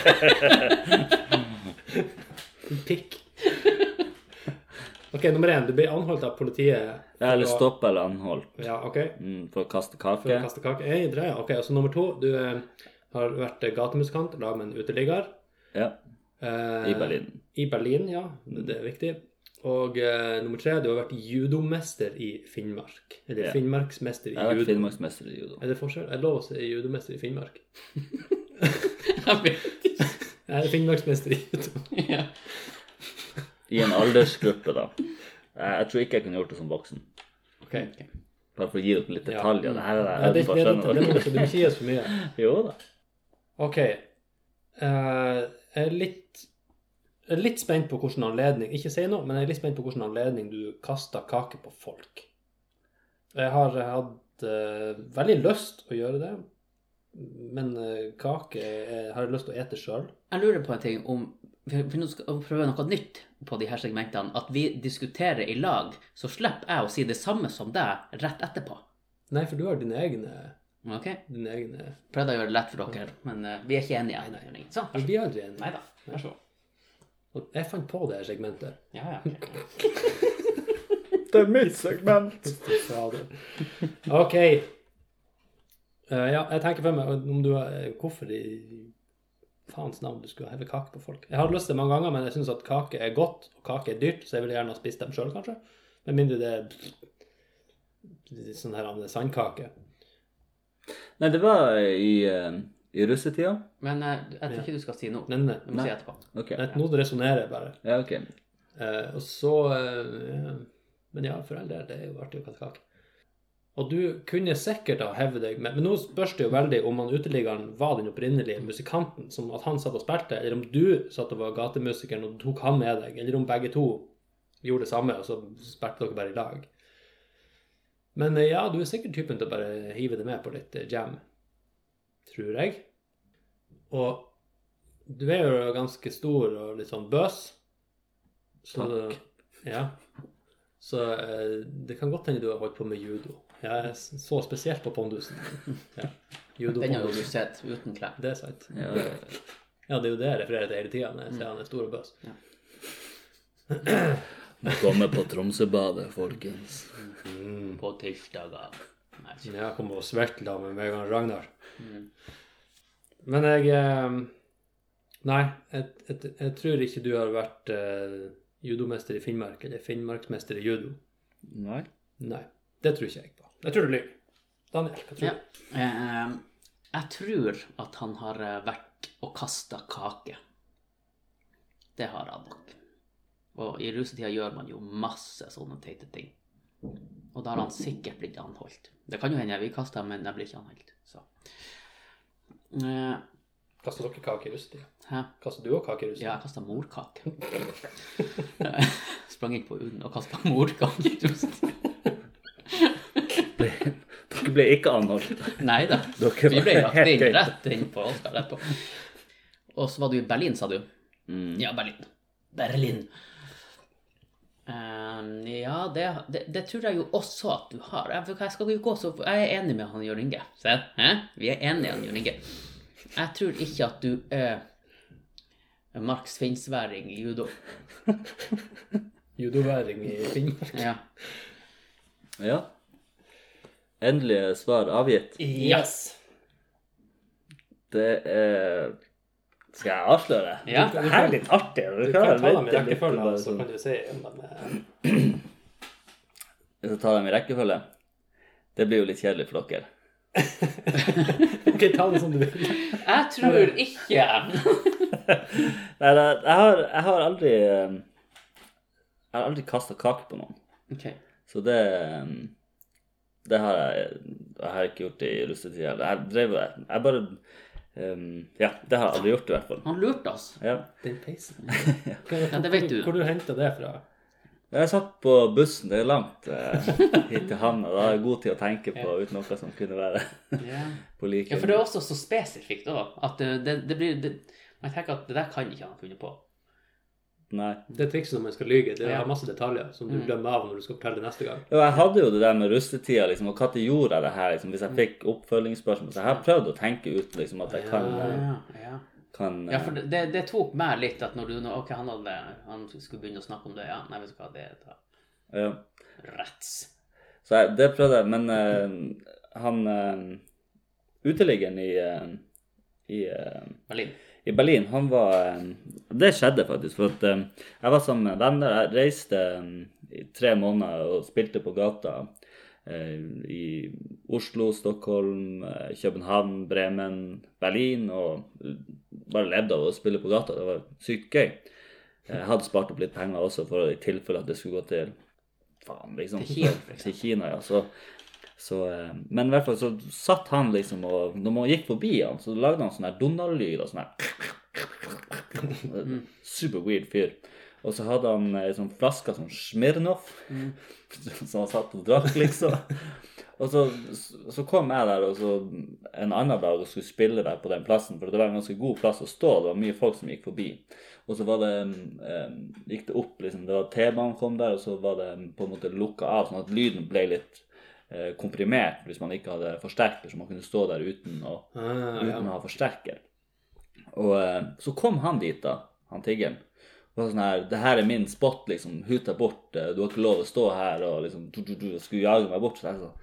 A: pikk. OK, nummer én. Du blir anholdt av politiet.
C: Ja, Eller
A: for å-
C: stopp eller anhold
A: Ja, OK.
C: mm, for å kaste
A: For å
C: kake.
A: kaste kake. Jeg dreier. OK, og så nummer to. Du eh, har vært gatemusikant lag med en uteligger.
C: Ja,
A: Eh,
C: I Berlin.
A: I Berlin, ja. Det er viktig. Og eh, nummer tre. Du har vært judomester i Finnmark. Eller
C: Ja.
A: finnmarksmester i
C: Jeg har vært
A: judo.
C: finnmarksmester i judo.
A: Er det forskjell? Er det lov å si judomester i Finnmark?
B: Jeg vet ikke.
A: Jeg er finnmarksmester i judo.
B: Ja.
C: I en aldersgruppe, da. Eh, Jeg jeg tror ikke jeg kunne gjort det som voksen.
A: Ok.
C: Bare for å gi dere litt
A: Ja.
C: detaljer. Det her er
A: Ja, det, det, det, det, må
C: skjønner dere.
A: ikke- du må ikke gi oss for mye.
C: Jo da.
A: OK. eh, jeg er litt jeg er litt spent på hvilken anledning Ikke si noe, men jeg er litt spent på hvilken anledning du kasta kake på folk. Jeg har hatt eh, veldig lyst å gjøre det, men eh, kake eh, har jeg lyst til å ete sjøl.
B: Jeg lurer på en ting om For for nå skal vi prøve noe nytt på de her segmentene. At vi diskuterer i lag, så slipper jeg å si det samme som deg rett etterpå.
A: Nei, for du har dine egne,
B: Ok?
A: dine egne
B: Prøvde å gjøre det lett for dere, men eh, vi er ikke enige.
A: Nei,
B: Sånn.
A: Vi blir aldri enige.
B: Nei da. Vær så god.
A: Og Jeg fant på det her segmentet.
B: Ja, ja. ok.
C: Det er mitt segment.
A: Fader. OK. Eh, ja, jeg tenker for meg om du eh, Hvorfor i faens navn du skulle heve kake på folk? Jeg har lyst til det mange ganger, men jeg syns at kake er godt, og kake er dyrt, så jeg ville gjerne ha spist dem sjøl, kanskje. Med mindre det er sånn her andre sandkake.
C: Nei, det var i, eh, i russetida.
B: Men eh, jeg tror ikke du skal si noe.
A: Nei, nei.
B: Du må si
C: Nei.
B: etterpå.
C: Ok.
A: nei. Nå resonnerer jeg bare.
C: Ja, ok.
A: Eh, og så eh, Men ja, for all del, det er jo artig å kaste kake. Og du kunne sikkert ha hevet deg med Men nå spørs det jo veldig om han uteliggeren var den opprinnelige musikanten, som at han satt og spilte, eller om du satt og var gatemusikeren og tok han med deg, eller om begge to gjorde det samme, og så spilte dere bare i lag. Men eh, ja, du er sikkert typen til å bare hive det med på litt eh, jam. Tror jeg. Og du er jo ganske stor og litt sånn bøs. Så,
C: Takk.
A: Ja. Så eh, det kan godt hende du har holdt på med judo. Jeg så spesielt på pondusen. Ja. Judo
B: Den har jo
A: pondus.
B: du sett uten klær.
A: Det er sant.
C: Ja, ja.
A: Ja, det er jo det jeg refererer til hele tida når jeg sier han er stor og bøs.
C: Må komme på Tromsøbadet, folkens.
B: Mm. På tirsdager. Nei, ikke.
A: Ja, Jeg kommer og svetler med meg og Ragnar.
B: Mm.
A: Men jeg eh, Nei, jeg, jeg, jeg tror ikke du har vært eh, judomester i Finnmark, eller finnmarksmester i judo.
C: Nei.
A: Nei, det tror ikke jeg på. Jeg tror du lyver. Daniel, hva tror
B: Ja.
A: du?
B: Eh, jeg tror at han har eh, vært og kasta kake. Det har han nok. Og i rusetida gjør man jo masse sånne teite ting. Og da har han sikkert blitt anholdt. Det kan jo hende jeg blir kasta, men jeg blir ikke anholdt. Så. Eh,
A: Kastet dere kake i russetida?
B: hæ?
A: Kastet du òg kake i
B: Ja,
A: russetida?
B: jeg kasta morkake. Jeg Sprang inn på UNN og kasta morkake. i rusetida.
C: Ble, dere ble ikke anholdt.
B: Nei da.
C: Dere
B: Vi ble
C: var
B: lagt
C: helt
B: inn
C: greit.
B: rett inn på Oscar rett på. Og så var du i Berlin, sa du?
C: Mm.
B: Ja, Berlin. Berlin. Ehm, ja, det, det, det tror jeg jo også at du har. Jeg, for jeg, skal jo gå så, jeg er enig med han Jørn Inge. Se, hæ? Vi er enige, han Jørn Inge. Jeg tror ikke at du er Marks Finnsværing i judo.
A: Judoværing i Finnmark?
B: Ja.
C: Ja. Endelige svar avgitt.
B: Yes.
C: Det er Skal jeg avsløre?
B: Ja.
C: Det her er litt artig.
A: Du kan ta dem i rekkefølge, så
C: altså. sånn.
A: kan du se om de er
C: Jeg skal ta dem i rekkefølge. Det blir jo litt kjedelig for dere.
A: Ok, ta det som du vil.
B: Jeg tror ikke
C: Nei, da, jeg har, jeg har aldri eh, Jeg har aldri kasta kake på noen.
B: Ok.
C: Så det eh, Det har jeg, jeg har ikke gjort i russetida. Jeg drev Jeg bare eh, Ja, det har jeg aldri gjort, i hvert fall.
B: Han lurte oss.
C: Ja.
A: Den peisen.
B: Ja, det vet du.
A: Hvor du henter det fra?
C: Jeg satt på bussen, det er langt eh, hit til havna. Da har jeg god tid å tenke på uten noe som kunne være
B: Ja.
C: på like
B: Ja, for det er også så spesifikt òg. At det, det, det blir det, Man tenker at det der kan ikke han ha funnet på.
C: Nei.
A: Det trikset når man skal lyge, det
B: Ja.
A: har masse detaljer som du glemmer av når du skal fortelle det neste gang.
C: Jo, jeg hadde jo det der med rustetida, liksom, og når gjorde jeg det her, liksom, hvis jeg fikk oppfølgingsspørsmål. Så jeg har prøvd å tenke ut liksom, at jeg kan,
B: Ja, ja.
C: kan
B: ja for det, det tok meg litt at når du nå- Ok, han, hadde, han skulle begynne å snakke om det. Ja, nei, vet du hva, det er da
C: eh, ja.
B: retts.
C: Så jeg, det prøvde jeg, men eh, han eh, uteliggeren i, eh, i, eh,
B: Berlin.
C: i Berlin, han var eh, Det skjedde faktisk, for at eh, jeg var sammen med venner. Jeg reiste eh, i tre måneder og spilte på gata eh, i Oslo, Stockholm, eh, København, Bremen, Berlin, og eh, bare levde av å spille på gata. Det var sykt gøy. Eh, Jeg hadde spart opp litt penger også, for i tilfelle at det skulle gå til faen, liksom.
B: Til Kina, for eksempel.
C: Til Kina, ja. Så, så, eh, men i hvert fall så satt han liksom og Når man gikk forbi han, så lagde han sånn her Donald-lyd og sånn
B: Mm.
C: her. Super weird fyr. Og så hadde han ei sånn flaske sånn Smirnoff
B: Mm.
C: som han satt og drakk, liksom. Og så, så kom jeg der og så en annen dag og skulle spille der på den plassen, for det var en ganske god plass å stå. Det var mye folk som gikk forbi. Og så var det, em, gikk det opp, liksom. Det var T-banen kom der, og så var det em, på en måte lukka av, sånn at lyden ble litt eh, komprimert hvis man ikke hadde forsterker, så man kunne stå der uten å,
A: Ah, ja.
C: uten å ha forsterker. Og eh, så kom han dit, da, han tiggeren. Og var sånn her Det her er min spot, liksom. Hut deg bort. eh, Du har ikke lov å stå her og liksom du, du, du, Skulle jage meg bort. Så jeg sånn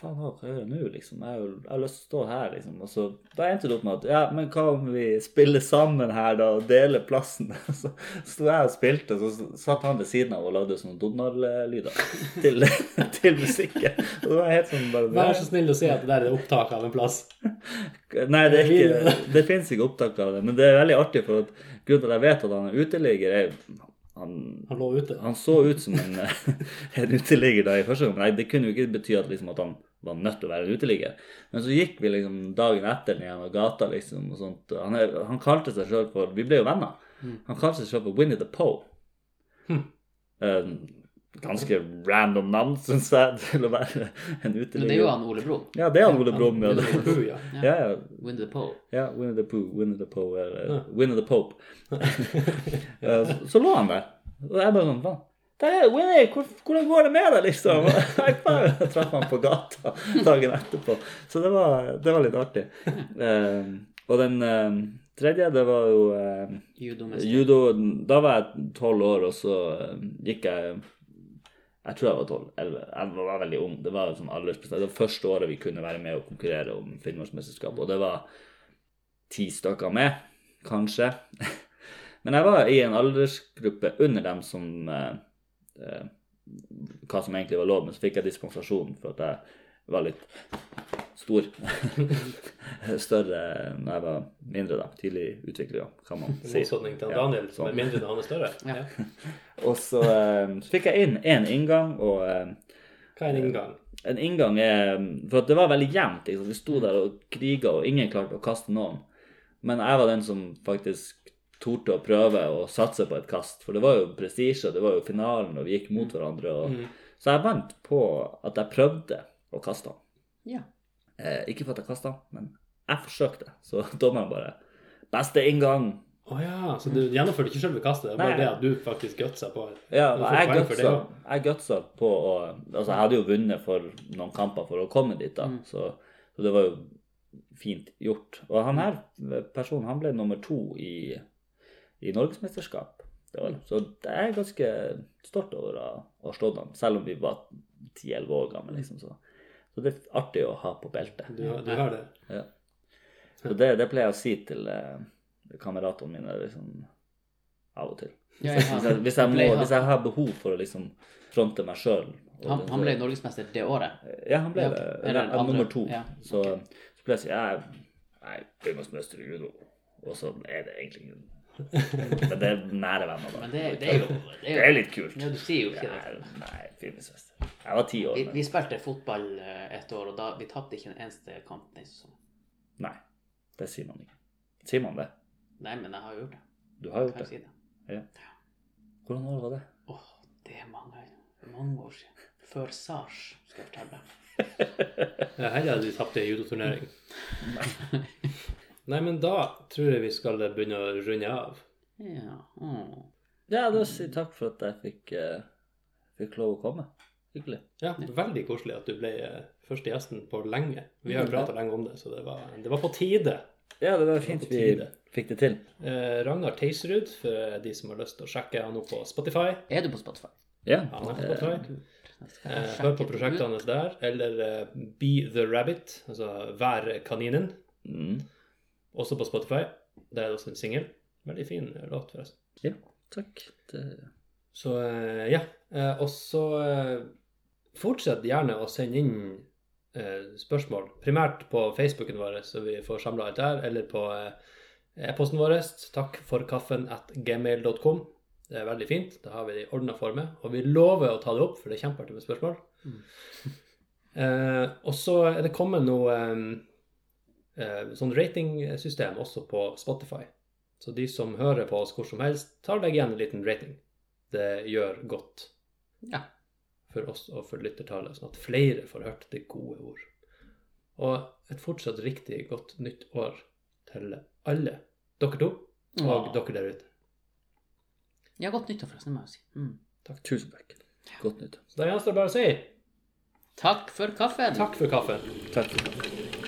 C: Faen, hva skal jeg gjøre nå, liksom? Jeg har jo- jeg har lyst til å stå her, liksom. Og så da endte det opp med at Ja, men hva om vi spiller sammen her, da, og deler plassen? Så sto jeg og spilte, og så satt han ved siden av og lagde sånne Donald-lyder til, til musikken. Og det var helt sånn bare
A: Vær så snill å si at det der er opptak av en plass.
C: Nei, det, er ikke, det finnes ikke opptak av det. Men det er veldig artig, for at grunnen til at jeg vet at han er uteligger, er han,
A: Han lå ute.
C: han så ut som en, en uteligger da i første gang. Nei, det kunne jo ikke bety at, liksom, at han var nødt til å være en uteligger. Men så gikk vi liksom dagen etter ned gjennom gata, liksom, og sånt. Han, er, han kalte seg sjøl for Vi ble jo venner. Han kalte seg sjøl for Winnie the Poe. Eh, ganske random navn, syns jeg, til å være en uteligger.
B: Men det er jo han Ole Brumm.
C: Ja, det er han Ole Brumm. Ja,
B: Ole
A: Puh, ja.
B: Ja.
C: ja, ja.
B: Windy the Pole.
C: Ja, Winnie the Pooh, Winnie the Poe, eller Winnie the Pope. Eh, så, så lå han der. Og jeg bare sånn faen. Der er Winnie! Hvor, hvordan går det med deg, liksom? High five! Jeg traff han på gata dagen etterpå. Så det var, det var litt artig. Eh, og den eh, tredje, det var jo eh,
B: Judomester.
C: judo Da var jeg tolv år, og så eh, gikk jeg Jeg tror jeg var 12. Eller, jeg var- var veldig ung. Det var sånn aldersbestemt. Det var første året vi kunne være med og konkurrere om Finnmarksmesterskapet, og det var ti stykker med, kanskje. Men jeg var i en aldersgruppe under dem som eh, eh, Hva som egentlig var lov, men så fikk jeg dispensasjon for at jeg var litt stor. Større når jeg var mindre, da. Tidlig utvikla, kan man
A: I
C: si.
A: motsetning til
C: Ja,
A: Daniel, som er
C: sånn.
A: mindre enn han er større.
B: Ja.
A: Ja.
C: Og så eh, så fikk jeg inn én inngang, og eh,
A: Hva er en inngang?
C: en inngang er For at det var veldig jevnt. Ikke sant? Vi sto der og kriga, og ingen klarte å kaste noen. Men jeg var den som faktisk torde å prøve å satse på et kast. For det var jo prestisje, og det var jo finalen, og vi gikk mot hverandre. Og...
A: Mm.
C: Så jeg vant på at jeg prøvde å kaste han.
B: Ja.
C: Eh, ikke for at jeg kasta han, men jeg forsøkte. Så dommeren bare 'Beste inngang!'
A: Å ja, så du gjennomførte ikke selve kastet, det var
C: Nei.
A: bare det at du faktisk gutsa på.
C: Ja,
A: Du
C: men
A: får
C: jeg
A: poeng for det,
C: gutsa, jeg gutsa på å Altså, jeg hadde jo vunnet for noen kamper for å komme dit, da,
B: Mm.
C: så, så det var jo fint gjort. Og han her personen, han ble nummer to i, i norgesmesterskap. Det var, så jeg er ganske stolt over å å ha slått han, selv om vi var 10-11 år gamle, liksom. Så. så det er artig å ha på beltet.
A: Du, du har det.
C: Så det, det pleier jeg å si til eh, kameratene mine liksom, av og til.
B: Ja, ja,
C: Hvis jeg, hvis, jeg må,
B: ble-
C: hvis jeg har behov for å liksom fronte meg sjøl
B: han, han ble norgesmester det året.
C: Ja, han ble
B: Ja,
C: det.
B: ok.
C: Ja,
B: Eller
C: ja,
B: andre.
C: nummer to.
B: Ja,
C: Så,
B: ok.
C: så ble jeg si jeg jeg er Finnmarksmester i judo. Og så er det egentlig ingen Men det er nære venner, da.
B: Men det, det er jo
C: Det
B: det
C: er
B: er jo,
C: litt kult.
B: ja, Du sier jo ikke det.
C: Nei, nei Finnmarksmester. Jeg var ti år.
B: Vi,
C: Men.
B: vi spilte fotball eh, et år, og da vi tapte ikke en eneste kamp den sesongen.
C: Nei, det sier man ikke. Sier man det?
B: Nei, men jeg har jo gjort det.
C: Du har
B: Kan jeg
C: gjort det.
B: si det?
C: Hvordan år var det?
B: Åh, det er mange, mange år siden. Før Sars, skal jeg fortelle deg.
A: Ja, Heller hadde vi tapt i en judoturnering. Nei, men da tror jeg vi skal begynne å runde av.
B: Ja. åh.
C: Ja, da sier jeg takk for at jeg fikk, eh, fikk lov å komme. Hyggelig.
A: Ja, veldig koselig at du ble eh, første gjesten på lenge. Vi har jo prata lenge om det, så det var, det var på tide.
C: Ja, det var
A: var
C: fint
A: på
C: vi
A: tide.
C: fikk det til.
A: Eh, Ragnar Teiserud, for eh, de som har lyst til å sjekke han opp på Spotify.
B: Er du på Spotify?
C: Ja.
A: Han er på
C: eh,
A: Spotify.
B: Jeg skal
A: Eh,
B: sjekke
A: Hør på
B: det
A: prosjektene
B: ut.
A: hans der, eller eh, Be the Rabbit, altså Vær kaninen,
C: Mm.
A: også på Spotify. Det er også en singel. Veldig fin låt, forresten.
C: Ja, takk. Det...
A: Så eh, ja. Eh, Og så eh, fortsett gjerne å sende inn eh, spørsmål, primært på Facebooken vår, så vi får samla alt der, eller på eh, e-posten vår, takkforkaffen at gmail.com. Det er veldig fint. Da har vi det i ordna former. Og vi lover å ta det opp, for det er kjempeartig med spørsmål.
B: Mm.
A: Eh, og så er det kommet noe eh, eh, sånn ratingsystem også på Spotify. Så de som hører på oss hvor som helst, tar deg igjen en liten rating. Det gjør godt
B: Ja.
A: for oss og for lyttertallet, sånn at flere får hørt det gode ord. Og et fortsatt riktig godt nytt år til alle dere to og
B: Åh.
A: dere der ute.
B: Ja, godt nyttår, forresten, må jeg jo si. Mm.
C: Tusen takk. Godt nytt.
A: Så da gjenstår det bare å si
B: Takk for kaffen.
A: takk for kaffen.
C: Takk.